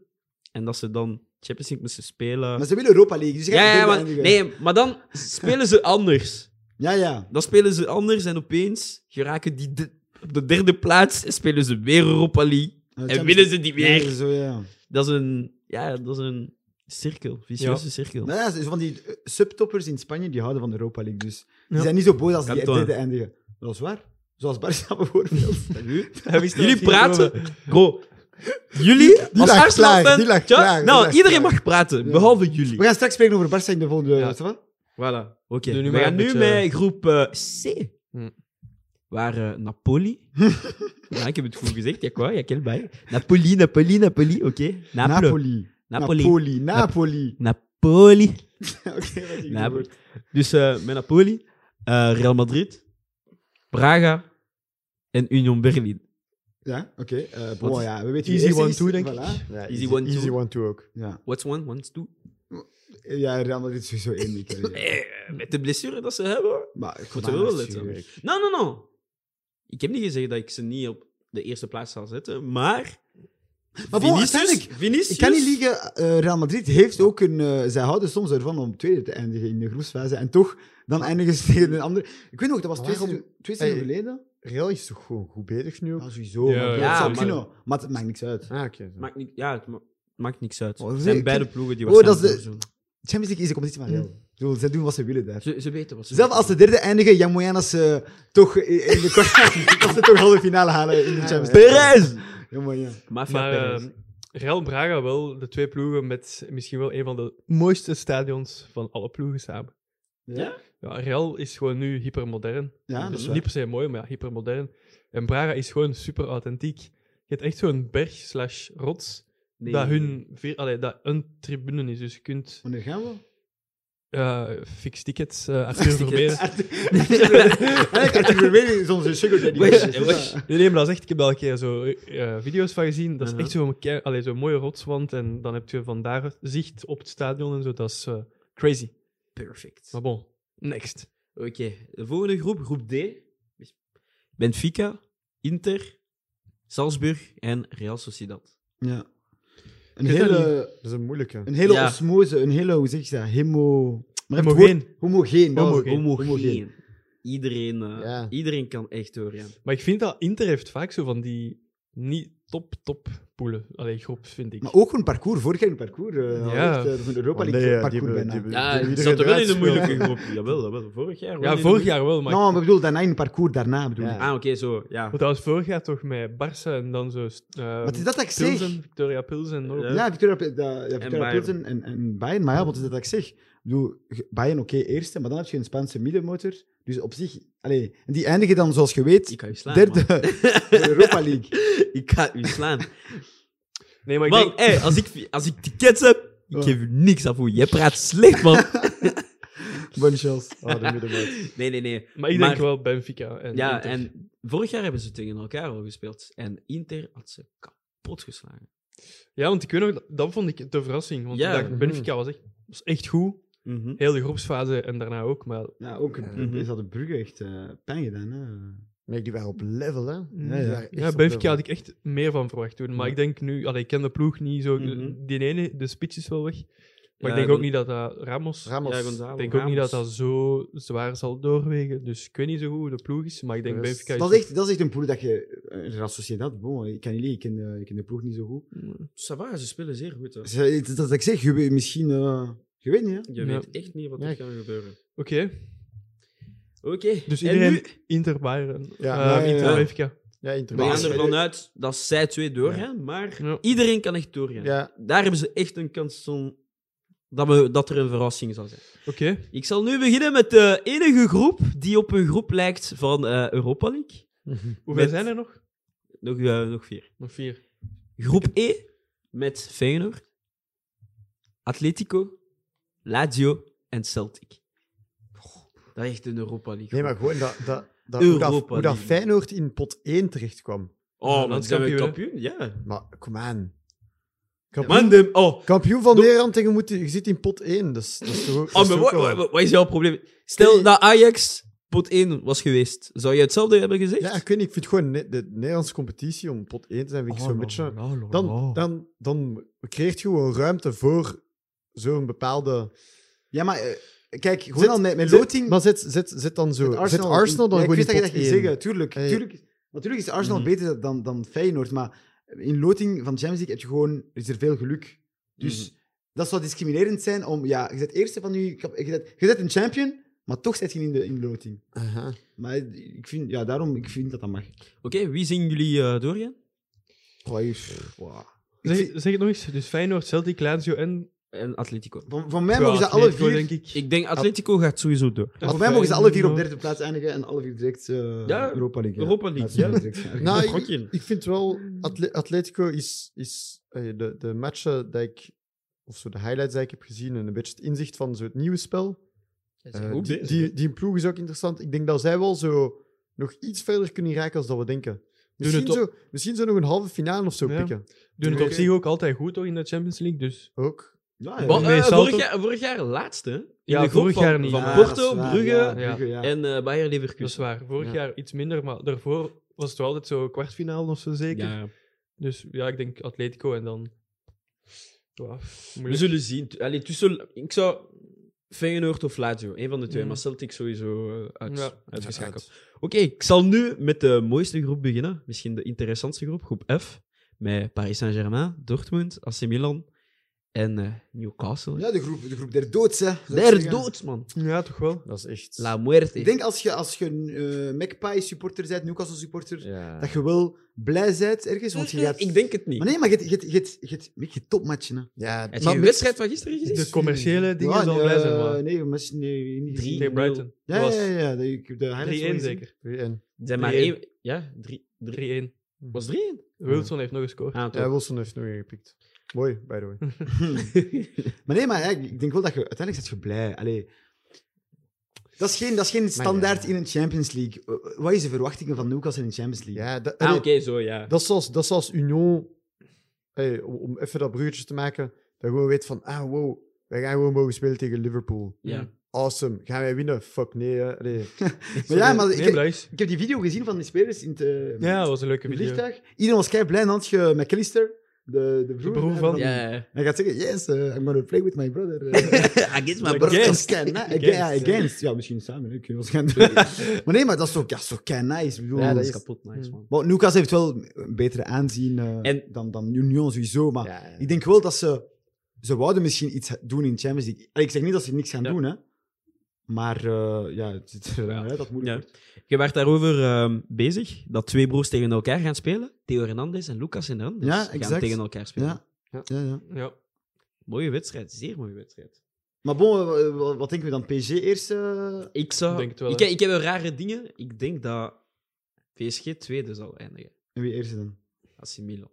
D: en dat ze dan Champions League moesten spelen.
B: Maar ze willen Europa League, dus je gaat
D: ja,
B: niet
D: ja,
B: denken
D: maar,
B: aan die-
D: nee, maar dan spelen ze anders.
B: Ja, ja.
D: Dan spelen ze anders en opeens geraken die de- op de derde plaats en spelen ze weer Europa League. En winnen ze die
B: Ja,
D: weer.
B: zo, ja.
D: Dat is een, ja, dat is een cirkel, vicieuze cirkel.
B: Nou ja, zo van die eh, subtoppers in Spanje, die houden van de Europa League, dus die
A: Ja.
B: zijn niet zo boos als die
D: Kan toch.
B: derde eindigen. Dat is waar. Zoals Barca bijvoorbeeld.
D: Jullie praten. Bro, jullie
C: Die
D: als
C: lag
D: Arsenal
C: klaar,
D: fan-
C: die lag
D: Ja?
C: klaar, die
D: Nou,
C: lag
D: iedereen
C: klaar.
D: mag praten,
B: Ja.
D: behalve
B: We
D: jullie.
B: gaan straks spreken over Barca in de volgende...
A: Ja.
B: Wat is dat?
D: Voilà. Oké,
A: Doe nu
D: we
A: maar
D: gaan
A: een
D: nu
A: beetje-
D: met groep eh, C.
A: Hm.
D: Waar eh, Napoli... ja, ik heb het goed gezegd, ja quoi, ja quel bij. Napoli, Napoli, Napoli, oké. Napoli.
B: Napoli.
D: Napoli.
B: Napoli. Napoli.
D: Napoli.
B: Oké, wat heb ik
D: Napoli.
B: gehoord?
D: Dus eh, met Napoli, eh, Real Madrid, Braga en Union Berlin.
B: Ja, oké. eh, bon,
D: Wat is-
B: ja, we weten
A: Easy
B: wie eerste
A: one
B: is.
A: two, denk
B: Voilà.
C: Ja,
D: Easy one, two.
C: Easy one, two ook.
B: Ja.
D: What's one, one's two?
B: ja, Real Madrid is sowieso één. ik weet het.
D: Eh, met de blessure dat ze hebben,
B: Maar ik
D: Moeten we wel letten. Nou, nou, nou. Ik heb niet gezegd dat ik ze niet op de eerste plaats zal zetten, maar...
B: Maar bon, uiteindelijk,
D: Vinicius...
B: Ik kan niet liegen, eh, Real Madrid heeft ook een... eh, zij houden soms ervan om tweede te eindigen in de groepsfase. En toch, dan eindigen ze tegen een ander. Ik weet nog, dat was twee,
C: Waarom?
B: seizoen- twee seizoenen
C: Hey.
B: geleden.
C: Real is toch gewoon goed bezig nu ook?
B: Ja, sowieso.
A: Ja,
B: maar,
A: ja,
D: ja,
B: maar, maar, het maakt niks uit.
C: Ah, oké.
D: Maakt niet, ja, het ma- maakt niks uit.
B: Oh,
D: Het
B: ze-
D: zijn
B: ik-
D: beide ploegen die
B: Oh, dat is
D: waarschijnlijk
B: de-
D: doorzoen.
B: Champions League is de competitie van Real. Ik bedoel, zij doen wat ze willen daar.
D: Ze, ze weten wat ze
B: Zelfs als ze derde eindigen, Jan Moyana ze eh, toch in in de kwart- dat ze toch halve finale halen in de Champions League.
D: Perez!
B: Jan Moyana.
D: Mafia
A: Maar
D: Perez.
A: ehm Real Braga wel, de twee ploegen met misschien wel een van de mooiste stadions van alle ploegen samen.
B: Ja?
A: Ja, Real is gewoon nu hypermodern.
B: Ja, dat
A: dus
B: is
A: niet
B: waar.
A: per se mooi, maar ja, hypermodern. En Braga is gewoon super authentiek. Je hebt echt zo'n berg slash rots
D: Nee.
A: dat, hun vier, allee, dat een tribune is. Dus je kunt
B: Wanneer gaan we?
A: eh fix tickets, eh Arthur Vermeer.
B: Eigenlijk, Arthur Vermeer is onze sugar daddy.
D: Wesh,
B: Dus,
D: wesh.
B: ja.
A: Nee, nee, maar dat is echt, ik heb daar een keer zo eh, video's van gezien. Dat is
D: Uh-huh.
A: echt zo'n kei- allee, zo'n mooie rotswand. En dan heb je vandaar zicht op het stadion en zo. Dat is eh, crazy.
D: Perfect.
A: Maar bon, next.
D: Oké, de volgende groep, groep D. Benfica, Inter, Salzburg en Real Sociedad.
B: Ja. Een
A: Ik weet dat
B: hele,
C: Dat is een moeilijke.
B: een hele
D: Ja.
B: osmose, een hele, hoe zeg je dat, hemo... Maar even
A: Homogeen.
B: het woord- Homogeen. dat was het.
D: Homogeen. Iedereen, eh,
C: Ja.
D: iedereen kan echt door, ja.
A: Maar ik vind dat Inter heeft vaak zo van die niet top, top poelen. Allee, groep vind ik.
B: Maar ook een parcours, vorig jaar een parcours. eh
A: Ja.
B: ja. Een Europa
C: Want
B: League
C: Oh, nee, ja,
B: parcours
C: die hebben-
B: bijna.
C: die
D: Ja,
C: Iedereen
D: ik zat er wel in
C: eruit
D: een moeilijke
C: speelt.
D: groep. Jawel, jawel, vorig jaar. wel in
A: ja,
D: de
A: vorig
D: moeilijke-
A: jaar wel, maar
B: Nou, maar ik bedoel, daarna in een parcours daarna bedoel
C: Ja.
B: ik.
D: Ah, oké, zo, Oh ja.
A: Want dat was vorig jaar toch met Barça en dan zo. eh
B: Wat is dat dat ik zeg?
A: Pilsen, Victoria Pilsen. nog.
D: Ja.
B: Ja, Victoria, Pil- da- ja, Victoria
D: Bayern.
B: Pilsen en, en Bayern. Maar ja, wat is dat dat ik zeg? Ik bedoel, ge- Bayern oké eerste, maar dan heb je een Spaanse middenmotor. Dus op zich... Allee, en die eindigen dan, zoals je weet,
D: Ik kan u slaan.
B: derde
D: man.
B: voor de Europa League.
D: Ik ga u slaan.
A: Nee, maar ik
D: Man,
A: denk...
D: hé, als, ik, als ik tickets heb, ik
B: Ja.
D: geef u niks af hoe. Jij praat slecht, man.
B: Bonne chance.
C: Ah, de middenmoot.
D: Nee, nee, nee.
A: Maar ik denk
D: Maar-
A: wel Benfica. En
D: Ja,
A: Inter.
D: en vorig jaar hebben ze tegen elkaar al gespeeld. En Inter had ze kapot geslagen.
A: ja, want ik weet nog, dat- dat vond ik de verrassing. Want
D: Ja.
A: ik dacht, Benfica was echt, was echt goed. Heel de groepsfase en daarna ook. Maar
B: Ja, ook
D: Mhm.
B: is dat de Brugge echt eh, pijn gedaan. Hè?
C: Nee, die waren op level, hè?
B: Ja, ja.
C: ja.
A: ja, Benfica had ik echt meer van verwacht toen. Maar ik denk nu... Allee, ik ken de ploeg niet zo...
D: Mhm.
A: Die ene, de spits is wel weg. Maar
D: Ja,
A: ik denk
D: Gon-
A: ook niet dat dat Ramos...
C: Ramos.
D: Ja, Gonzalo.
A: Ik denk ook niet dat
D: Ramos.
A: dat zo zwaar zal doorwegen. Dus ik weet niet zo goed hoe de ploeg is, maar ik denk
C: Dus
A: Benfica is...
B: Dat, is echt, dat is echt een ploeg dat je... eh, Real Sociedad, bon, ik kan niet liegen, ik ken, de- ik ken de ploeg niet zo goed.
D: Ça va, ze spelen zeer goed. Hè.
B: Dus, eh, het- Dat, ik zeg, je weet misschien... eh, je weet niet, hè?
A: Ja.
D: Je weet echt niet wat er
C: Ja.
D: kan gebeuren.
A: Oké,
D: Oké.
A: dus
D: en
A: iedereen...
D: nu-
A: Inter Bayern.
C: Ja,
A: Eh,
B: ja, ja,
A: Inter
D: ja.
A: Benfica.
C: Ja, Inter.
D: We
B: Maar-
D: gaan ervan uit dat zij twee doorgaan, maar
A: Ja.
D: iedereen kan echt doorgaan.
C: Ja,
D: Daar hebben ze echt een kans om dat, we, dat er een verrassing zal zijn.
A: Oké.
D: Ik zal nu beginnen met de enige groep die op een groep lijkt van eh, Europa League.
A: Hoeveel
D: Met-
A: zijn er nog?
D: Nog, eh, nog vier.
A: Nog vier.
D: Groep E met Feyenoord, Atletico, Lazio en Celtic. Dat is echt een Europa League.
C: Nee, maar gewoon dat, dat, dat, hoe, dat,
D: Europa
C: hoe dat
D: League.
C: Feyenoord in pot 1 terecht kwam.
A: Ja,
D: Oh, dan zijn we
A: landskampioen,
D: kampioen, ja.
C: Maar, come on.
D: Man, de, oh,
C: Kampioen van
D: Doe-
C: Nederland tegen moeten, je zit in pot 1. Dus, dat is toch ook- dat
D: oh
C: is
D: maar
C: toch
D: wat,
C: wel-
D: wat, wat is jouw probleem? Stel
C: Kun je-
D: dat Ajax pot 1 was geweest, zou je hetzelfde hebben gezegd?
C: Ja, ik weet niet, ik vind gewoon ne- de Nederlandse competitie om pot 1 te zijn,
D: Oh,
C: vind ik zo'n beetje... Dan, dan, dan creëert je gewoon ruimte voor zo'n bepaalde...
B: Ja, maar eh, kijk, gewoon
C: Zet-
B: al met, met
C: zet-
B: loting...
C: Maar zet, zet, zet dan zo...
B: met
C: Arsenal, zet Arsenal dan
B: Ja,
C: gewoon
B: Ik
C: in
B: wist dat je
C: pot
B: dat
C: 1.
B: ging zeggen. Tuurlijk,
C: Hey.
B: tuurlijk, natuurlijk is Arsenal
C: Mhm.
B: beter dan, dan Feyenoord, maar in loting van de Champions League heb je gewoon, is er veel geluk. Dus
C: Mhm.
B: dat zou discriminerend zijn om... Ja, je bent eerste van je... kap- Je bent, je bent een champion, maar toch zit je niet in de, in de loting.
C: Aha.
B: Maar ik vind, ja, daarom ik vind dat dat mag.
D: Oké, wie zien jullie eh, doorgaan?
B: Goh, ik- wow. Ik
A: Zeg,
B: vind-
A: zeg het nog eens. Dus Feyenoord, Celtic, Lazio en...
D: En Atletico.
B: van, van mij
A: Ja,
B: mogen ze alle
A: Atletico,
B: vier...
A: denk ik.
D: Ik denk Atletico gaat sowieso door.
B: Voor mij mogen ze alle vier op
A: Ja.
B: derde plaats eindigen en alle vier direct eh,
D: Ja,
B: Europa League. ja.
D: Europa League,
B: Ja,
D: ja.
B: direct, ja.
C: Nou,
D: Gok
C: ik,
D: in.
C: ik vind wel, Atle- Atletico is, is eh, de, de matchen die ik, of zo de highlights die ik heb gezien en een beetje het inzicht van zo het nieuwe spel. eh,
D: goed
C: die,
D: bezig,
C: die,
D: hè?
C: die ploeg is ook interessant. Ik denk dat zij wel zo nog iets verder kunnen raken als dat we denken. Misschien,
A: het
C: zo, misschien zo nog een halve finale of zo
A: Ja.
C: pikken.
A: Doen het op
C: Oké.
A: zich ook altijd goed, toch, in de Champions League. Dus
C: Ook.
B: Ja,
A: Wat?
B: ja.
D: Wa-
A: Nee,
D: eh,
A: Salto-
D: vorig, jaar, vorig jaar laatste, hè? In
A: Ja,
D: de groep
A: vorig
D: van,
A: jaar niet.
D: Van
A: Ja,
B: dat
D: Porto,
B: is waar,
D: Brugge
B: ja,
A: ja.
B: Brugge, ja.
D: en eh Bayer
A: dat is
D: Leverkusen.
A: waar. Vorig
C: Ja.
A: jaar iets minder, maar daarvoor was het wel altijd zo kwartfinale of zo zeker.
D: Ja.
A: Dus ja, ik denk Atletico en dan... Ja,
D: We
A: moeilijk.
D: zullen zien. T- Allee, tussen, ik zou Feyenoord of Lazio, een van de twee,
A: Mhm.
D: maar Celtic sowieso eh, uit,
A: Ja,
D: uitgeschakeld. Oké, ik zal nu met de mooiste groep beginnen. Misschien de interessantste groep, groep F. Met Paris Saint-Germain, Dortmund, AC Milan en eh, Newcastle.
B: Ja, de groep, de groep der doods, hè. zou ik
D: Der
B: zeggen.
D: doods, man.
A: Ja, toch wel.
C: Dat is echt...
D: La muerte.
B: Ik denk als je, als je een eh, Magpie-supporter bent, Newcastle-supporter,
C: Ja.
B: dat je wel blij bent ergens, want je gaat...
D: Ik denk het niet.
B: Maar nee, maar je hebt- je hebt- je hebt- je hebt- je hebt topmatchen, hè.
C: ja,
D: Heb je
C: maar
D: de
C: met-
D: wedstrijd van gisteren gezien?
B: Dus-
A: De commerciële dingen
B: Ja,
A: zal
B: nee,
A: blij zijn,
B: eh,
A: maar...
B: Nee, match, nee, niet
D: Drie.
B: gezien.
A: Tegen Brighton.
B: Ja,
A: was
B: ja, ja, ja, de- ik heb de highlights wel
A: 3-1
B: gezien.
A: zeker.
C: 3-1.
D: Er zijn maar
A: Drie-één.
D: één. Ja, drie. drie. Hmm.
A: 3-1.
D: Was drie één?
A: Wilson heeft nog gescoord.
D: Ah,
C: Ja,
D: toch.
C: Wilson heeft nog een gepikt. Mooi, by the way.
A: Hm.
B: Maar nee, maar ja, ik ik denk wel dat je uiteindelijk zit je blij. Allee. Dat is geen, dat is geen standaard
C: ja.
B: in een Champions League. Eh, Wat is de verwachtingen van Newcastle in de Champions League?
C: Ja, dat,
D: Ah,
C: allee,
D: oké, zo ja.
C: Dat is zoals, dat is zoals Union, hey, om, om even dat bruggetje te maken, dat gewoon weet van, ah wow, wij gaan gewoon mogen spelen tegen Liverpool.
D: Ja.
C: Awesome, gaan wij winnen? Fuck nee, hè. Allee.
B: maar ja, maar ik,
A: Nee,
B: heb-
A: Bryce.
B: ik heb die video gezien van die spelers in het, eh,
A: Ja, dat was een leuke
B: in het
A: video.
B: vliegtuig. Iedereen was kei blij en dan had je McAllister, de, de, broer,
A: broer
B: hè,
A: van-
B: En
D: Ja, ja.
B: hij gaat zeggen, yes, eh, I'm gonna play with my brother. eh.
D: Against
A: my
B: Dat is
A: brother.
B: toch kei ni- Aga-
A: Against,
B: ja,
A: ja.
B: Against. Ja, misschien samen. hè. Ik weet niet wat ze gaan doen. maar nee, maar dat is toch, ja, dat is toch kei nice. Ik bedoel,
C: Ja, dat
D: is
C: is
D: kapot nice, man.
B: Maar Newcastle heeft wel een betere aanzien eh,
D: En-
B: dan, dan Union sowieso. Maar
C: Ja, ja.
B: ik denk wel dat ze... Ze wouden misschien iets doen in Champions League. Allee, Ik zeg niet dat ze niks gaan
D: Ja.
B: doen, hè. Maar eh, ja, het ziet er wel uit dat het moeilijk
D: Ja.
B: wordt.
D: Je werd daarover ehm, bezig dat twee broers tegen elkaar gaan spelen. Theo Hernandez en Lucas Hernandez
B: Ja,
D: gaan
B: exact.
D: tegen elkaar spelen.
B: Ja. Ja. Ja,
A: Ja.
D: Mooie wedstrijd, zeer mooie wedstrijd.
B: Maar bon, eh, wa- wat, denken we dan? PSG eerst? eh?
D: Ik zou.
A: Denk het wel,
D: ik,
A: hè.
D: ik heb wel rare dingen. Ik denk dat PSG tweede zal eindigen.
B: En wie eerst dan?
D: AC Milan.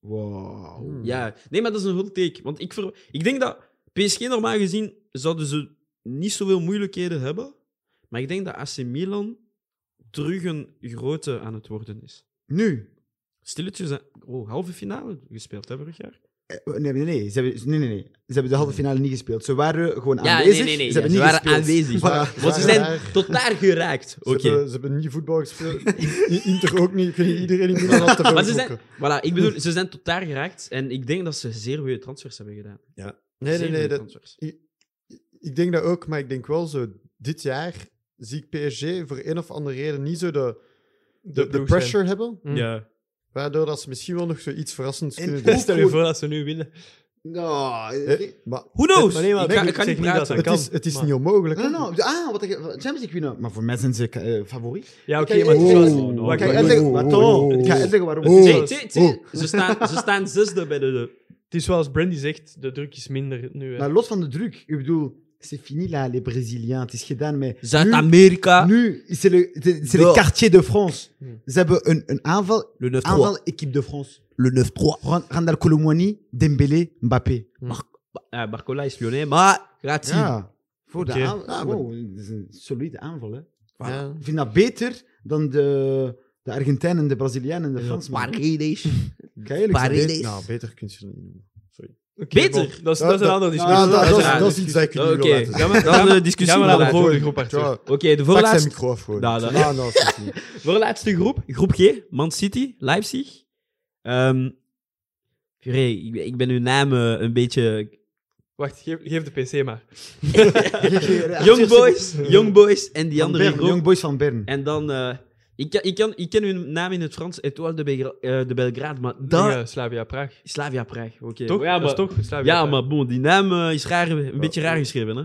B: Wow.
C: Hmm.
D: Ja, nee, maar dat is een hot take. Want ik, ver... ik denk dat PSG normaal gezien zouden ze niet zoveel moeilijkheden hebben. Maar ik denk dat AC Milan terug een grote aan het worden is.
B: Nu?
D: Stilletjes, aan- oh, halve finale gespeeld hè, vorig jaar.
B: Eh, Nee, nee, nee. Ze hebben, nee, nee, nee. Ze hebben de halve finale niet gespeeld. Ze waren gewoon
D: Mm. Ja,
B: aanwezig.
D: nee, nee, nee.
B: Ze
D: Ja,
B: hebben
D: ze
B: niet
D: waren aanwezig.
B: gespeeld. Voilà.
D: Want ze
C: Ja,
D: zijn
C: ja.
D: tot daar geraakt.
C: Ze,
D: Oké.
C: hebben, ze hebben niet voetbal gespeeld. I- Inter ook niet. Ik weet niet, iedereen in Milan had te veel
D: Maar ze zijn,
C: gokken.
D: voilà, ik bedoel, ze zijn tot daar geraakt en ik denk dat ze zeer goede transfers hebben gedaan.
C: Nee,
D: Zeer
C: nee, nee.
D: goede
C: dat-
D: transfers.
C: ik denk dat ook, maar ik denk wel zo, dit jaar zie ik PSG voor een of andere reden niet zo de, de, de
A: ploeg
C: pressure
A: zijn.
C: hebben,
A: Hm.
D: Mm. Ja.
C: waardoor dat ze misschien wel nog zoiets verrassends
B: En
C: kunnen
B: ook-
C: doen.
A: Stel je voor dat ze nu winnen.
B: Nou, eh,
C: Eh, Maar
D: Who knows?
A: Maar nee, maar
D: ik ga,
A: ik
D: ik ga
A: zeg
D: niet
A: niet dat
D: praten.
A: dat kan,
C: het is, het is
A: maar-
C: niet onmogelijk.
B: No,
C: hè.
B: no, no. Ah, wat ik, Champions League winnen. Maar voor mij zijn ze eh, favoriet.
A: Ja, oké,
B: Kijk,
A: maar...
B: eh,
A: het is-
B: eh,
A: wacht,
B: ik
A: wacht,
B: ga
A: wacht.
B: uitleggen-
C: oh, oh,
B: wacht, oh.
C: oh.
B: Ik ga uitleggen waarom.
C: Oh.
D: Zie, zie, zie, Ze, staan, ze staan zesde bij de
A: Het is zoals Brandy zegt, de druk is minder nu. hè.
B: Maar los van de druk, ik bedoel, c'est fini là, les Bréziliens. Het is gedaan met. nu,
D: Zuid-Amerika,
B: nu is het le, c'est- c'est le
D: Ja.
B: quartier de France.
A: Hm.
D: Hmm.
B: Ze hebben een, een aanval,
D: le 9-3.
B: aanval équipe de France.
D: Le 9-3.
B: Ran- Randal Colomwani, Dembélé, Mbappé.
D: Ba- eh, Barcola is Lyonnais, maar gaat zien.
C: Ja.
B: Voor de
A: Oké.
B: aanval.
C: Ja,
B: wow, dat is een solide aanval. Hè.
C: Ja.
B: Ik vind dat beter dan de, de Argentijnen, de Brazilianen en de Fransen.
D: Paredes.
B: Kan je eerlijk zeggen?
D: Paris. Paredes.
C: Beter- Nou, beter kun je ze niet noemen. Sorry.
A: Oké,
D: Beter!
A: bon, Dat is, dat is een
C: Ja,
A: andere
B: ja,
A: discussie.
B: dat- dat is-
A: een
B: dat
A: andere
B: is
C: iets dat ik
D: Oké,
C: jullie wil laten zien.
D: ja, maar dat is een discussie.
A: Gaan we naar de
D: maar-
A: volgende groep, Arthur.
C: Ja,
D: Oké, de
C: pak zijn
D: voorlaatste,
C: micro af gewoon.
D: Nou, dat-
C: Nou, nou, dat is niet.
D: voorlaatste groep. Groep G, Man City, Leipzig. Ehm puree, ik, ben- ik ben uw naam eh, een beetje...
A: Wacht, geef, geef de PC maar.
D: Young Boys, Young Boys en die
B: Van
D: andere
B: eh, Bern,
D: groep.
B: Young Boys van Bern.
D: En dan... eh, ik, kan- ik, kan, ik ken hun naam in het Frans, Etoile de, Belgra eh, de Belgrade, maar dat...
A: Nee, eh, Slavia Praag.
D: Slavia Praag, oké.
A: Toch?
D: Ja,
A: dat is
D: maar,
A: toch Slavia
D: ja,
A: Praag.
D: maar bon, die naam eh, is raar, een beetje raar geschreven, hè?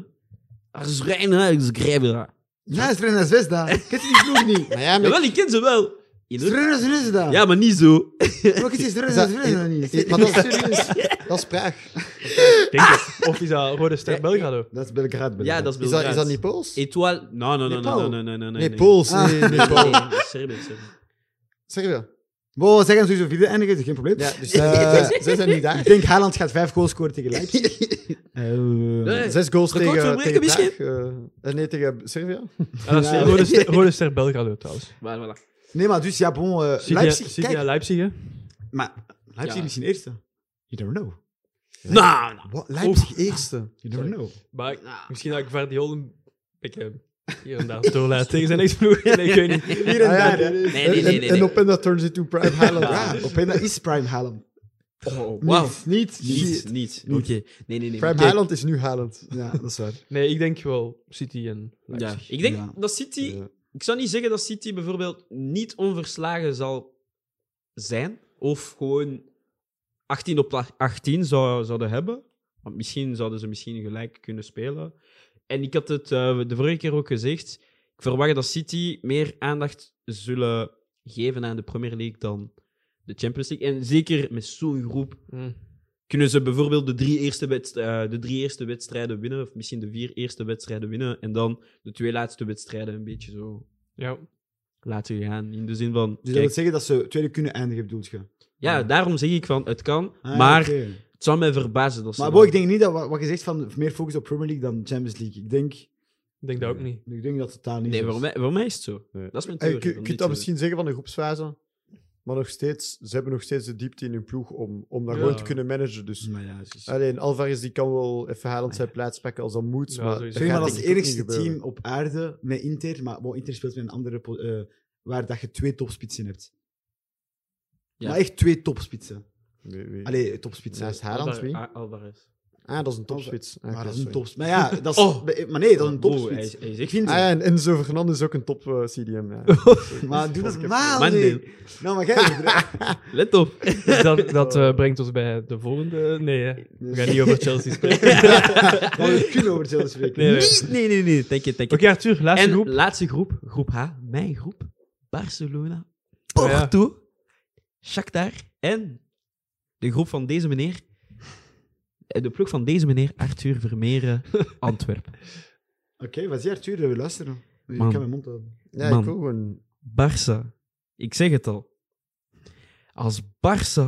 D: Arzrein, geschreven.
B: Ja, Srena Zvezda. Kent je die ploeg niet?
C: Maar ja, maar
D: Jawel, ik ken ze wel. In het-
B: Srena Zvezda.
D: Ja, maar niet zo.
B: Maar het is Srena Zvezda niet.
C: Maar dat is Dat is Praag.
A: Ik denk het. Of is dat Rode Ster
D: Ja,
A: Belgrado?
B: Dat is Belgrade.
D: Ja, dat is
C: Is dat, is dat
D: Belgrade.
C: niet Pools?
D: Etoile... No, no, no, no, no,
B: Nepal.
D: no, no, no, no.
C: Nee, Pools. Nee, nee,
D: Nee, Ah,
C: Pools.
D: nee, nee, Serbië, Serbië.
C: Serbië.
B: Wow, zij gaan sowieso vierde eindigen, dus geen probleem.
C: Ja, dus
B: Eh,
C: ze zijn niet daar.
B: Ik denk Haaland gaat vijf goals scoren tegen Leipzig. Eh,
D: Nee.
C: Zes goals
D: Record
C: tegen,
D: verbreken
C: tegen Praag. eh, eh, nee, tegen Servië.
A: Ah, dat is
B: Ja.
A: Rode, Ster, Rode Ster Belgrado trouwens.
D: Voilà, voilà.
B: Nee, maar dus ja, bon. eh,
A: City-
B: Leipzig,
A: City-
B: kijk.
A: Leipzig, hè?
B: Maar Leipzig
D: Ja.
B: misschien eerste. You don't know.
D: Nou, nou.
C: Wat? Leipzig eerste.
B: You don't
A: Sorry.
B: know.
A: Maar ik-
D: nou.
A: misschien dat ik Vardiol een beetje hier en daar doorlaat tegen zijn ex-ploeg. Nee, ik weet niet.
B: Hier en
C: Ah, ja,
B: daar. hè.
D: Nee, nee, nee, nee,
C: En-
D: nee.
C: En op en dat turns into Prime Haaland.
B: Ja, Openda is prime Haaland.
C: Oh,
D: Wauw.
B: Niet, Oh, niet,
D: Niet,
B: shit.
D: niet. Oké.
B: Niet.
D: Nee, nee, nee.
C: Prime
D: Oké.
C: Haaland is nu Haaland.
B: Ja, dat is waar.
A: Nee, ik denk wel City en
D: Ja.
A: Leipzig.
D: Ik denk
B: Ja.
D: dat City...
C: Ja.
D: Ik zou niet zeggen dat City bijvoorbeeld niet onverslagen zal zijn. Of gewoon 18 op pla- 18 zou, zouden hebben. Want misschien zouden ze misschien gelijk kunnen spelen. En ik had het eh, de vorige keer ook gezegd. Ik verwacht dat City meer aandacht zullen geven aan de Premier League dan de Champions League. En zeker met zo'n groep
A: Mm.
D: kunnen ze bijvoorbeeld de drie, eerste wedst- eh, de drie eerste wedstrijden winnen. Of misschien de vier eerste wedstrijden winnen. En dan de twee laatste wedstrijden een beetje zo
A: Ja.
D: laten gaan. In de zin van.
B: Dus dat
D: kijk,
B: wil zeggen dat ze tweede kunnen eindigen, bedoelt je?
D: ja, daarom zeg ik van het kan.
B: Ah,
D: maar
B: oké.
D: het zou mij verbazen. Dat ze
B: Maar
D: dan-
B: boy, ik denk niet dat wa- wat je zegt van meer focus op Premier League dan Champions League. Ik denk,
A: Ik denk dat ook niet.
B: ik denk dat het totaal niet
D: Nee,
B: zo is.
D: voor mij, voor mij is het zo.
C: Nee.
D: Dat is mijn
C: En je
D: theorie.
C: Eh, kun- je
D: van
C: kunt
D: dit
C: dat misschien zeggen van de groepsfase. Maar nog steeds, ze hebben nog steeds de diepte in hun ploeg om, om dat
A: Ja.
C: gewoon te kunnen managen. Dus
B: Maar ja, het is-
C: alleen Alvarez die kan wel even Haaland zijn plaats pakken als dat moet.
A: Ja,
C: maar
A: sowieso.
B: Sorry, maar
A: gaat
B: dat is het
C: denk ik
B: enigste
C: ook niet gebeuren.
B: team op aarde met Inter. Maar wow, Inter speelt met een andere... po- eh, waar dat je twee topspitsen hebt.
D: Ja.
B: Maar echt twee topspitsen.
C: Wie- wie-
B: Allee, topspitsen.
C: Naast
D: Alvar-
C: Haaland, wie?
D: A- Alvarez.
C: Ah, dat is een topspits. Ah,
B: maar
C: oké,
B: dat is een
C: sorry.
B: topspits. Maar ja, dat is... Maar nee, dat is een
D: Oh,
B: topspits.
D: hij is- hij is
B: ik
D: echt-
B: vind
C: Ah, ja,
B: het.
C: en Enzo Fernandez is ook een top eh, CDM. Ja.
B: Maar doe dat normaal,
D: Mandel.
B: nee. Nou, maar jij...
D: Let op.
A: Dus dat dat eh, brengt ons bij de volgende. Nee, hè. we gaan niet over Chelsea spreken.
B: Maar we kunnen over Chelsea spreken.
A: Nee, nee.
D: Nee, nee, nee, nee. Denk je, denk
A: Oké,
D: je.
A: Arthur, laatste
D: en
A: groep.
D: laatste groep, groep H, mijn groep. Barcelona,
A: Oh, ja.
D: Porto, Shakhtar en de groep van deze meneer. De ploeg van deze meneer, Arthur Vermeeren, Antwerpen.
B: Oké, wat is Arthur? We luisteren. Ik
D: Man.
B: kan mijn mond houden.
C: Ja,
D: Man.
C: ik wil gewoon...
D: Barça. Ik zeg het al. Als Barça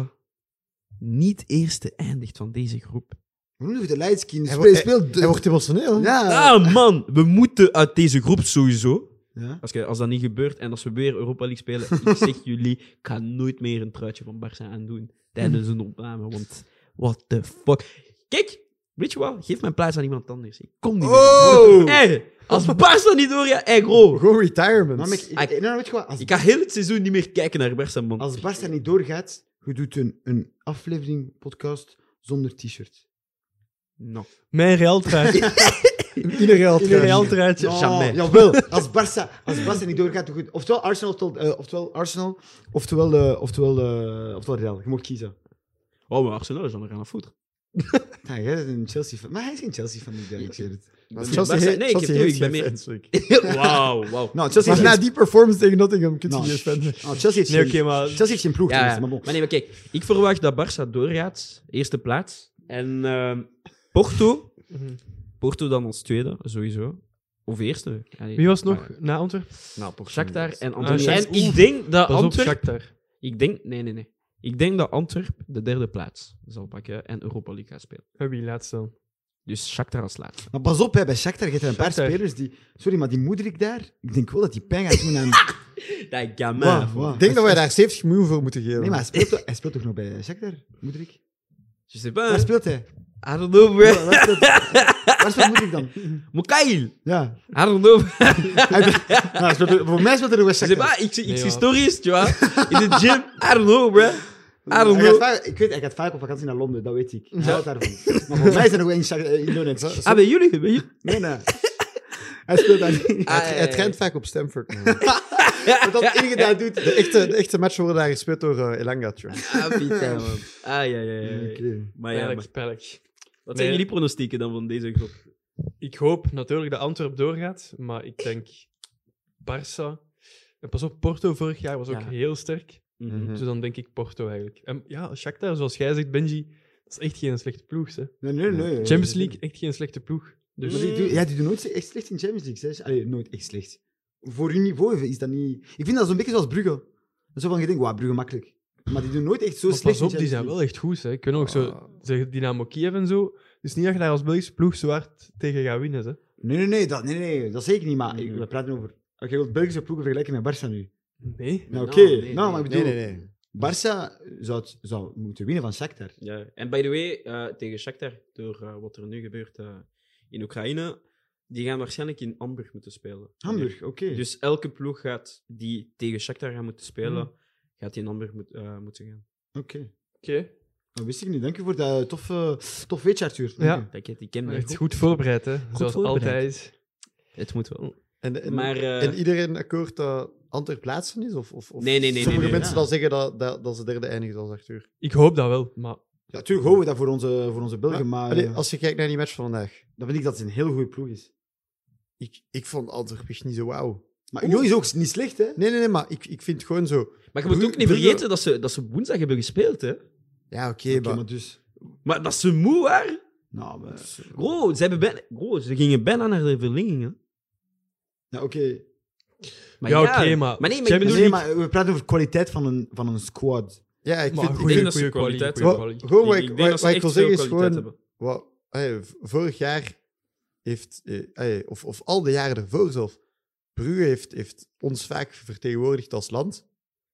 D: niet eerste eindigt van deze groep.
B: Hoe noem je de Leidskind?
C: Hij
B: Speel,
C: wo-
B: speel...
C: Hij wordt emotioneel. hè?
B: Ja.
D: Ah man, we moeten uit deze groep sowieso.
B: Ja.
D: Als, je- als dat niet gebeurt en als we weer Europa League spelen, ik zeg jullie, ik ga nooit meer een truitje van Barça aandoen tijdens een opname. Want what the fuck. Kijk, weet je wat? Geef mijn plaats aan iemand anders. Ik kom niet
B: Oh!
D: meer. Hey, als Barça niet doorgaat, hey bro.
C: Gewoon retirement.
B: Maar Mick, ik,
D: Ik-
B: ik, nou, weet je wat? Als,
D: Ik ga heel het seizoen niet meer kijken naar Barça, man.
B: als Barca niet doorgaat, je doet een, een aflevering podcast zonder t-shirt.
D: No.
A: Mijn Real truitje.
C: Iedere geld.
A: Mijn Real truitje.
B: Oh,
D: jamais.
B: Jawel, als Barca, als Barca niet doorgaat, doe je het. Oftewel Arsenal, oftewel, eh, oftewel, Arsenal, oftewel, eh, oftewel, eh, oftewel Real. Je moet kiezen.
D: Oh, maar Arsenal is dan nog aan de voet.
B: Ja, jij bent een Chelsea-fan. Maar hij is geen Chelsea-fan, ik realiseer het.
D: ben
C: Chelsea
D: meer Barca-
C: heeft-
D: nee, ik
C: Chelsea
D: heb
C: heeft
D: het ook, ik ben
C: geen fans,
D: meer-
C: like.
D: Wauw, wauw.
B: Nou, Chelsea
C: Maar
B: heeft
C: na die performance tegen Nottingham kun je
B: Nou,
C: niet eens fan zijn.
B: oh, Chelsea heeft
A: Nee, oké,
B: geen-
A: maar-
B: Chelsea heeft geen ploeg.
D: Ja,
B: tenminste,
D: ja.
B: maar bon.
D: maar nee, maar kijk. Ik verwacht dat Barça doorgaat. Eerste plaats. En ehm, Porto.
A: Mhm.
D: Porto dan als tweede, sowieso. Of eerste. Allee.
A: Wie was nog na Antwerpen?
C: Nou, Porto
D: Shakhtar
C: niet.
D: en Antwerpen.
A: Shakhtar.
D: en ik denk
B: Ah,
D: dat
A: Pas op,
D: Antwerpen...
A: Shakhtar.
D: Ik denk... Nee, nee, nee. Ik denk dat Antwerpen de derde plaats zal pakken en Europa League gaat spelen.
A: Heb je laatst Ah, dan?
D: Dus Shakhtar als laatste.
B: Maar pas op, hè, bij Shakhtar je er een paar
A: Shakhtar.
B: spelers die... Sorry, maar die Moedrik daar, ik denk wel dat die pijn gaat doen aan...
D: Dat gamin.
B: Wow,
D: man.
B: wow.
C: Ik denk dat wij daar 70 miljoen voor moeten geven.
B: Nee, maar hij Eh. speelt, toch- hij speelt toch nog bij Shakhtar, Moedrik?
D: Je sais pas.
B: Waar
D: hein.
B: speelt hij?
D: I don't know, bro.
B: Waar waar speelt, waar speelt Moedrik dan?
D: Mokail.
B: Ja.
D: I don't know.
B: Hij- nou, hij speelt- voor mij speelt hij nog bij
D: Je sais
B: Shakhtar.
D: pas. "Ah, Ik zie ik
A: Nee,
D: zie
A: man.
D: stories, tu vois. In de gym. I don't know, bro. I don't
B: Hij gaat
D: know.
B: vaak, ik weet, hij gaat vaak op vakantie naar Londen, dat weet ik. Hij houdt daarvan. Maar voor mij is hij nog wel in Shakhtar, eh, in Donetsk.
D: Ah, bij jullie? Bij jullie?
B: Nee, nee. Hij speelt daar niet.
C: Hij,
D: Ah, ja,
C: hij
D: ja,
C: traint
D: ja.
C: vaak op Stamford. man.
B: Want dat enige dat hij doet...
C: De echte, de echte matchen worden daar gespeeld door eh, Elanga. tjoh.
D: Ah, pita, man. Ah, ja, ja, ja. ja.
B: Oké.
D: Maar ja,
A: Pijnlijk,
D: maar-
A: pijnlijk.
D: Wat zijn
A: Nee.
D: jullie pronostieken dan van deze groep?
A: Ik hoop natuurlijk dat Antwerpen doorgaat, maar ik denk Barça. En pas op, Porto vorig jaar was ook
D: Ja.
A: heel sterk.
B: Mhm.
A: Dus dan denk ik Porto eigenlijk. En ja, Shakhtar, zoals jij zegt, Benji, dat is echt geen slechte ploeg. Hè.
B: Nee, nee, nee.
A: Champions League, echt geen slechte ploeg. Dus
B: Maar die doen- ja, die doen nooit echt slecht in Champions League. Zeg. Allee, nooit echt slecht. Voor hun niveau is dat niet... Ik vind dat zo'n beetje zoals Brugge. Zo van, je denkt, wauw, Brugge makkelijk. Maar die doen nooit echt zo
A: maar
B: slecht
A: pas
B: in
A: op, die
B: Champions
A: zijn
B: League.
A: wel echt goed. Hè. Ik weet nog
C: Ah.
B: Nou,
A: zo, zeg, Dynamo Kiev en zo. Dus niet dat je daar als Belgische ploeg zo hard tegen gaat winnen. Hè.
B: Nee, nee, nee, dat, nee, nee, dat zeker niet. Maar ik-
D: Mhm.
B: we praten over... Oké, je wilt Belgische ploegen vergelijken met Barça nu.
A: Nee.
B: Nou,
D: Nou,
B: oké.
D: nee,
B: nou, maar ik
C: Nee,
B: bedoel...
C: nee, nee.
B: Barça zou, het- zou moeten winnen van Shakhtar.
D: Ja. En by the way, eh, tegen Shakhtar, door eh, wat er nu gebeurt eh, in Oekraïne, die gaan waarschijnlijk in Hamburg moeten spelen.
B: Hamburg, oké.
D: Dus elke ploeg gaat die tegen Shakhtar gaan moeten spelen,
B: Hmm.
D: gaat die in Hamburg moet- eh, moeten gaan.
B: Oké.
A: Oké.
B: Dat wist ik niet. Dank u voor dat toffe, tof weetje, Arthur. Dank
A: Ja.
B: u.
D: Dat ik, ik ken mij
A: Echt
D: goed.
A: goed voorbereid, hè. zoals
D: voorbereid.
A: altijd.
D: Het moet wel.
C: En, en,
D: Maar, eh,
C: en iedereen akkoord dat Antwerp plaatsen is? Of, of, of
D: Nee, nee, nee,
C: Sommige
D: nee, nee,
C: mensen
B: ja.
C: dan zeggen dat, dat, dat ze derde eindigen als Arthur.
A: Ik hoop dat wel, maar
B: Ja, natuurlijk houden we dat voor onze, voor onze Belgen,
D: Ah,
B: maar,
C: Allee,
B: eh,
C: als je kijkt naar die match van vandaag.
B: dan vind ik dat het een heel goede ploeg is.
C: Ik, ik vond Antwerp echt niet zo wauw.
B: Maar Union is ook niet slecht, hè?
C: Nee, nee, nee, maar ik, ik vind gewoon zo...
D: Maar je moet ook niet
C: Brugge-
D: vergeten dat ze, dat ze woensdag hebben gespeeld, hè.
C: Ja, oké,
B: Oké,
C: maar...
B: maar dus...
D: Maar dat ze moe waren.
B: Nou, maar...
D: Bro, ze, hebben bijna, bro, ze gingen bijna naar de verlenging, hè.
B: Ja, oké.
D: Maar
A: Ja, oké, maar-
D: Maar nee, maar ik
A: Champions
D: bedoel-
B: Nee, maar we praten over kwaliteit van een, van een squad.
C: Ja, ik
A: Maar
C: vind...
A: goeie-
C: ik
A: dat ze
D: goeie
A: kwaliteit
D: goeie
A: hebben.
C: vind- gewoon wat
D: Ik-
C: ik,
D: ik
C: wat-
D: denk dat ze
C: wat ik
D: echt
C: wil zeggen
D: veel
C: is
D: kwaliteit
C: gewoon...
D: hebben.
C: Wat, hey, v- vorig jaar heeft, eh, hey, of, of al de jaren ervoor zelf, Brugge heeft, heeft ons vaak vertegenwoordigd als land.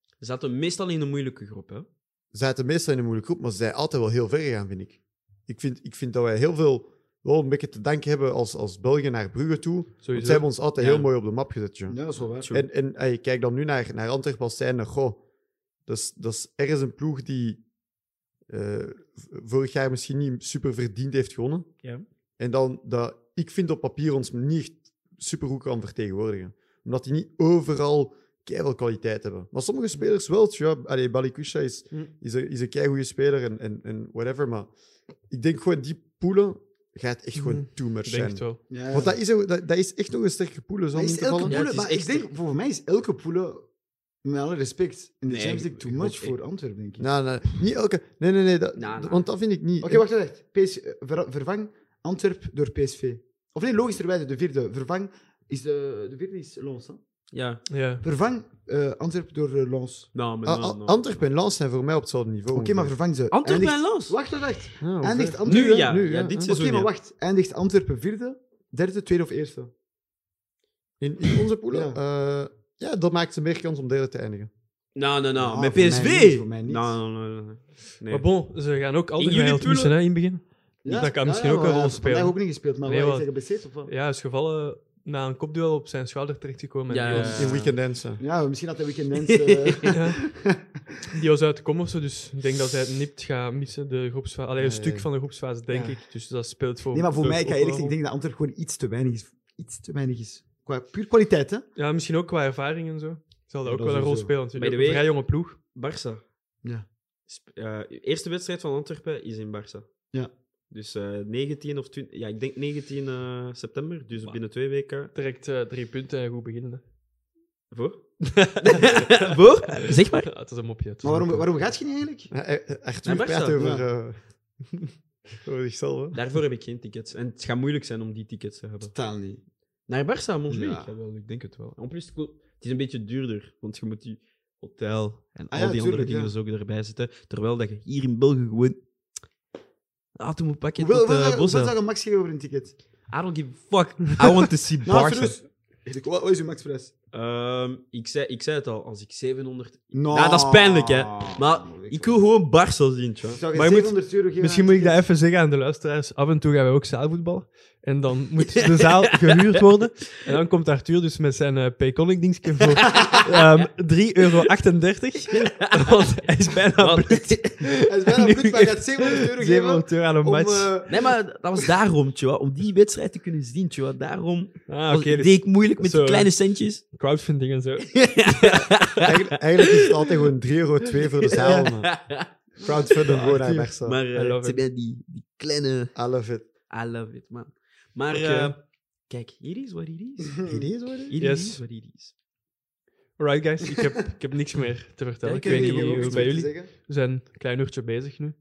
D: Ze zaten meestal in een moeilijke groep, hè.
C: Ze zaten meestal in een moeilijke groep, maar ze zijn altijd wel heel ver gegaan, vind ik. Ik vind, ik vind dat wij heel veel wel een beetje te danken hebben als, als België naar Brugge toe. Want
A: sowieso.
C: Ze hebben ons altijd
D: Ja.
C: heel mooi op de map gezet, joh.
B: Ja, dat is wel waar.
D: True.
C: En, en ey, kijk dan nu naar, naar Antwerpen als zijnde. Goh, dat is, dat is ergens een ploeg die eh, v- vorig jaar misschien niet super verdiend heeft gewonnen.
D: Ja.
C: En dan dat ik vind op papier ons niet super goed kan vertegenwoordigen. Omdat die niet overal keihard kwaliteit hebben. Maar sommige spelers wel. tja. Allee, Balikwisha is,
A: Mm.
C: is een, is een keigoede speler en, en, en whatever. Maar ik denk gewoon die poelen gaat echt gewoon
A: Mm.
C: too much
A: Ik denk
C: zijn.
A: het wel.
B: Ja.
C: Want dat is, ook- dat, dat is echt nog een sterke poelen. zo
B: Maar
C: om
B: is
C: in te
B: elke
C: vallen.
D: Ja,
B: poele-
D: het is
B: maar ik
D: echt-
B: denk, voor mij is elke poele, met alle respect, in de
D: Nee,
B: Champions League
D: ik-
B: too
D: ik
B: much
D: hoop-
B: voor Antwerpen, denk ik.
C: Nou, nee, niet elke. Nee, nee, nee. Dat,
D: Nou, nou.
C: Want dat vind ik niet.
B: Oké, wacht even. PS, eh, ver- vervang Antwerp door PSV. Of nee, logischerwijze, de vierde. Vervang is de, de vierde is Lons. Hè?
D: Ja.
A: Ja.
B: Vervang eh, Antwerp door eh, Lons.
D: Nou, maar
C: A-
D: nou,
C: A-
D: nou.
C: Antwerpen en Lens zijn voor mij op hetzelfde niveau.
B: Oké, maar vervang ze.
D: Antwerpen en
B: Eindigt-
D: Lens?
B: Wacht, wacht, wacht.
C: Ja, ongeveer.
B: Eindigt Antwerpen.
D: Nu ja.
C: nu,
D: ja,
C: ja.
D: dit
C: Oké,
B: Oké,
D: seizoen.
B: maar
D: ja.
B: wacht. Eindigt Antwerpen vierde, derde, tweede of eerste?
C: in, in onze poelen.
B: Ja.
C: Ja. ja, dat maakt ze meer kans om derde te eindigen.
D: Nou, nou, nou.
B: Nou,
D: Met
B: voor mij
D: PSV?
B: niet, voor mij niet.
D: Nou, nou, nou, nou. Nee.
A: Maar bon, ze gaan ook altijd
D: jullie
A: Wijnald
D: pullen-
A: missen hè, in het begin. Dat kan misschien ook
B: maar
A: een
B: hij
A: rol
B: heeft vandaag
A: spelen.
B: ook niet gespeeld, maar
A: Nee,
B: nee,
A: want-
B: zeggen geblesseerd of wat? Ja.
A: Ja, hij is gevallen na een kopduel op zijn schouder terechtgekomen.
D: Ja,
A: en die
D: ja,
A: was-
D: ja.
C: In weekend dansen.
B: misschien had hij weekend mensen. eh,
A: Ja. Die was uit de kom of zo, dus ik denk dat hij het niet gaat missen, de groepsfase. Allee, een
C: Ja, ja.
A: stuk van de groepsfase, denk
B: Ja.
A: ik. Dus dat speelt voor...
B: Nee, maar voor
D: Oh,
A: Brugge
B: mij, ik ga
A: ook
B: eerlijk
A: wel.
B: zeggen, ik denk dat Antwerp gewoon iets te weinig is. Iets te weinig is. Qua puur kwaliteit, hè?
A: Ja, misschien ook qua ervaring en zo. Zal dat
B: Ja,
A: ook wel
B: dat
A: een rol
B: sowieso.
A: spelen, natuurlijk.
D: By
A: Een
D: the way-
A: vrij jonge ploeg.
D: Barça.
B: Ja.
D: Sp- eh, eerste wedstrijd van Antwerpen is in Barça.
B: Ja.
D: Dus eh, 19 of 20, ja, ik denk 19 eh, september, dus
A: Maar-
D: binnen twee weken.
A: Direct eh, drie punten en goed beginnen. hè.
D: Voor? Voor? Zeg maar.
A: Ja, het is een mopje. het is een
B: Maar waarom,
A: mopje.
B: waarom gaat je niet eigenlijk?
C: Ja, e- e- Echt
D: En
C: weer
D: waar
C: praten
D: staat-
C: over, eh, over zichzelf, hè.
D: Daarvoor heb ik geen tickets. En het gaat moeilijk zijn om die tickets te hebben.
B: Totaal niet.
D: Naar Barça, ons
B: Ja.
D: ja. wel, ik denk het wel. En plus, ik wil- het is een beetje duurder, want je moet die hotel en
B: Ah
D: al
B: ja,
D: die andere
B: tuurlijk,
D: dingen
B: ja.
D: dus ook erbij zitten. Terwijl dat je hier in België gewoon... Ah, toen moet pakken
B: Hoeveel,
D: tot
B: hoeveel,
D: uh,
B: zou- hoeveel
D: Bossa.
B: zou je max geven over een ticket?
D: I don't give a fuck. I want to see
B: Nou,
D: Barca.
B: serieus. Eigenlijk, Wat wat is je maxprijs?
D: Ehm, ik, zei, ik zei het al, als ik 700...
B: Nou,
D: Nou, dat is pijnlijk, hè. Maar ik wil gewoon Barça zien, tja.
B: Zou je
A: Maar je moet-
B: 700 euro geven
A: Misschien
B: aan
A: moet ik dat
B: tickets?
A: even zeggen aan de luisteraars. Af en toe gaan wij ook zaalvoetballen. En dan moet de zaal gehuurd worden. En dan komt Arthur dus met zijn eh Payconic dingetje voor ehm 3,38 euro. Want hij is bijna
D: Want-
A: blut.
B: Hij is bijna goed, maar je gaat 700 euro geven
A: 700 euro aan een
B: om...
A: match.
B: eh,
D: Nee, maar dat was daarom, tja. Om die wedstrijd te kunnen zien, tja. Daarom
A: ah,
D: was-
A: oké. dus
D: deed ik moeilijk met
A: Zo.
D: die kleine centjes.
A: crowdfunding en zo.
C: Eigenlijk, eigenlijk is het altijd gewoon 3,02 euro voor de zaal. man. Crowdfunding gewoon naar Barca.
D: Maar
A: I love
D: eh, ze
A: it.
D: hebben die, die kleine...
C: I love it.
D: I love it, man. Maar
A: Oké.
D: eh, kijk, hier is wat hier is.
C: It is what it is.
D: Hier
A: Yes.
D: is wat hier is.
A: Alright, guys. Ik heb, ik heb niks meer te vertellen.
D: Ja,
A: ik
D: ik
A: weet
D: heb-
A: niet
D: ik heb ook
A: hoe
D: niks
A: het bij jullie. We zijn een klein uurtje bezig nu.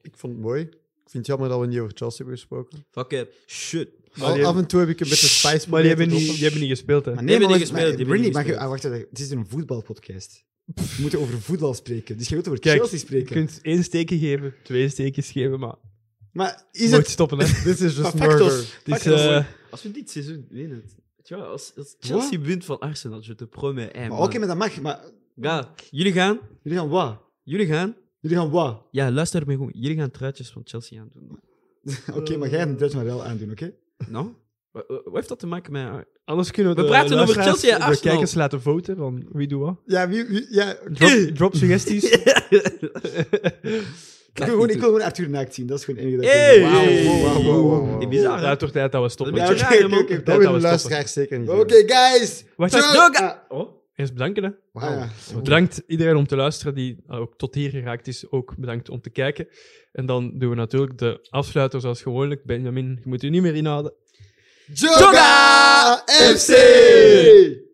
C: Ik vond het mooi. Ik vind het jammer dat we niet over Chelsea hebben gesproken.
D: Fuck it. Shit.
C: Al-
A: die-
C: af en toe heb ik een beetje spice
A: Maar die hebben
C: proberen
A: niet,
C: te
A: die hebben niet gespeeld, hè.
B: Maar
D: Die
B: nee,
D: hebben
B: maar,
D: niet
B: wacht-
D: gespeeld,
B: maar,
D: die
B: Brindy,
D: hebben niet
B: maar je-
D: gespeeld.
B: ah, wacht, wacht, het is een voetbalpodcast. We moeten over voetbal spreken, dus je wilt over
A: Kijk,
B: Chelsea
A: Je
B: spreken.
A: kunt één steekje geven, twee steekjes geven, maar
B: Maar is
A: is moet
B: het...
A: stoppen, hè.
C: This is just
B: Maar factos.
C: murder.
A: Het is,
B: Fuck, dat is
A: eh,
D: Als we dit seizoen winnen... Tja, als, als Chelsea wint van Arsenal, je te promets. eh,
B: Maar
D: man.
B: Oké, maar dat mag, maar
D: Ja, jullie gaan...
B: jullie gaan wat?
D: Jullie gaan...
B: Jullie gaan wat?
D: Ja, luister me goed. Jullie gaan truitjes van Chelsea aandoen.
B: Oké, maar jij gaat het Duits maar wel aandoen, oké?
D: Nou? Wat, wat heeft dat te maken met... eh,
A: Anders kunnen we,
D: We
A: de
D: praten over
A: luisteraars- eh,
D: Chelsea en
A: De
D: Arsenal.
A: kijkers laten voten van wie doet wat.
C: Ja, wie, wie- ja,
A: Drop, drop suggesties.
B: Ik wil, gewoon, ik wil gewoon Arthur naakt zien, dat is gewoon het enige dat ik
D: Hey!
B: wil.
D: Hey!
B: Wauw, wauw, wauw, wauw, wauw.
D: Hey, bizar,
A: Ja,
D: hè?
A: het wordt tijd dat we stoppen.
D: Dat
B: Ja,
D: is
A: Wacht,
D: een
B: oké,
D: beetje raar,
B: oké, oké.
D: man.
A: dat
C: dat willen
A: we
C: de
A: stoppen.
C: luisteraars zeker niet.
B: Oké, guys!
A: wacht.
B: Ciao.
D: Doga!
B: Ah,
D: Oh?
A: Eerst bedanken, hè.
C: Wauw.
B: Ah,
A: Bedankt iedereen om te luisteren die eh, ook tot hier geraakt is. Ook bedankt om te kijken. En dan doen we natuurlijk de afsluiter zoals gewoonlijk. Benjamin, je moet je niet meer inhouden.
B: Joga FC!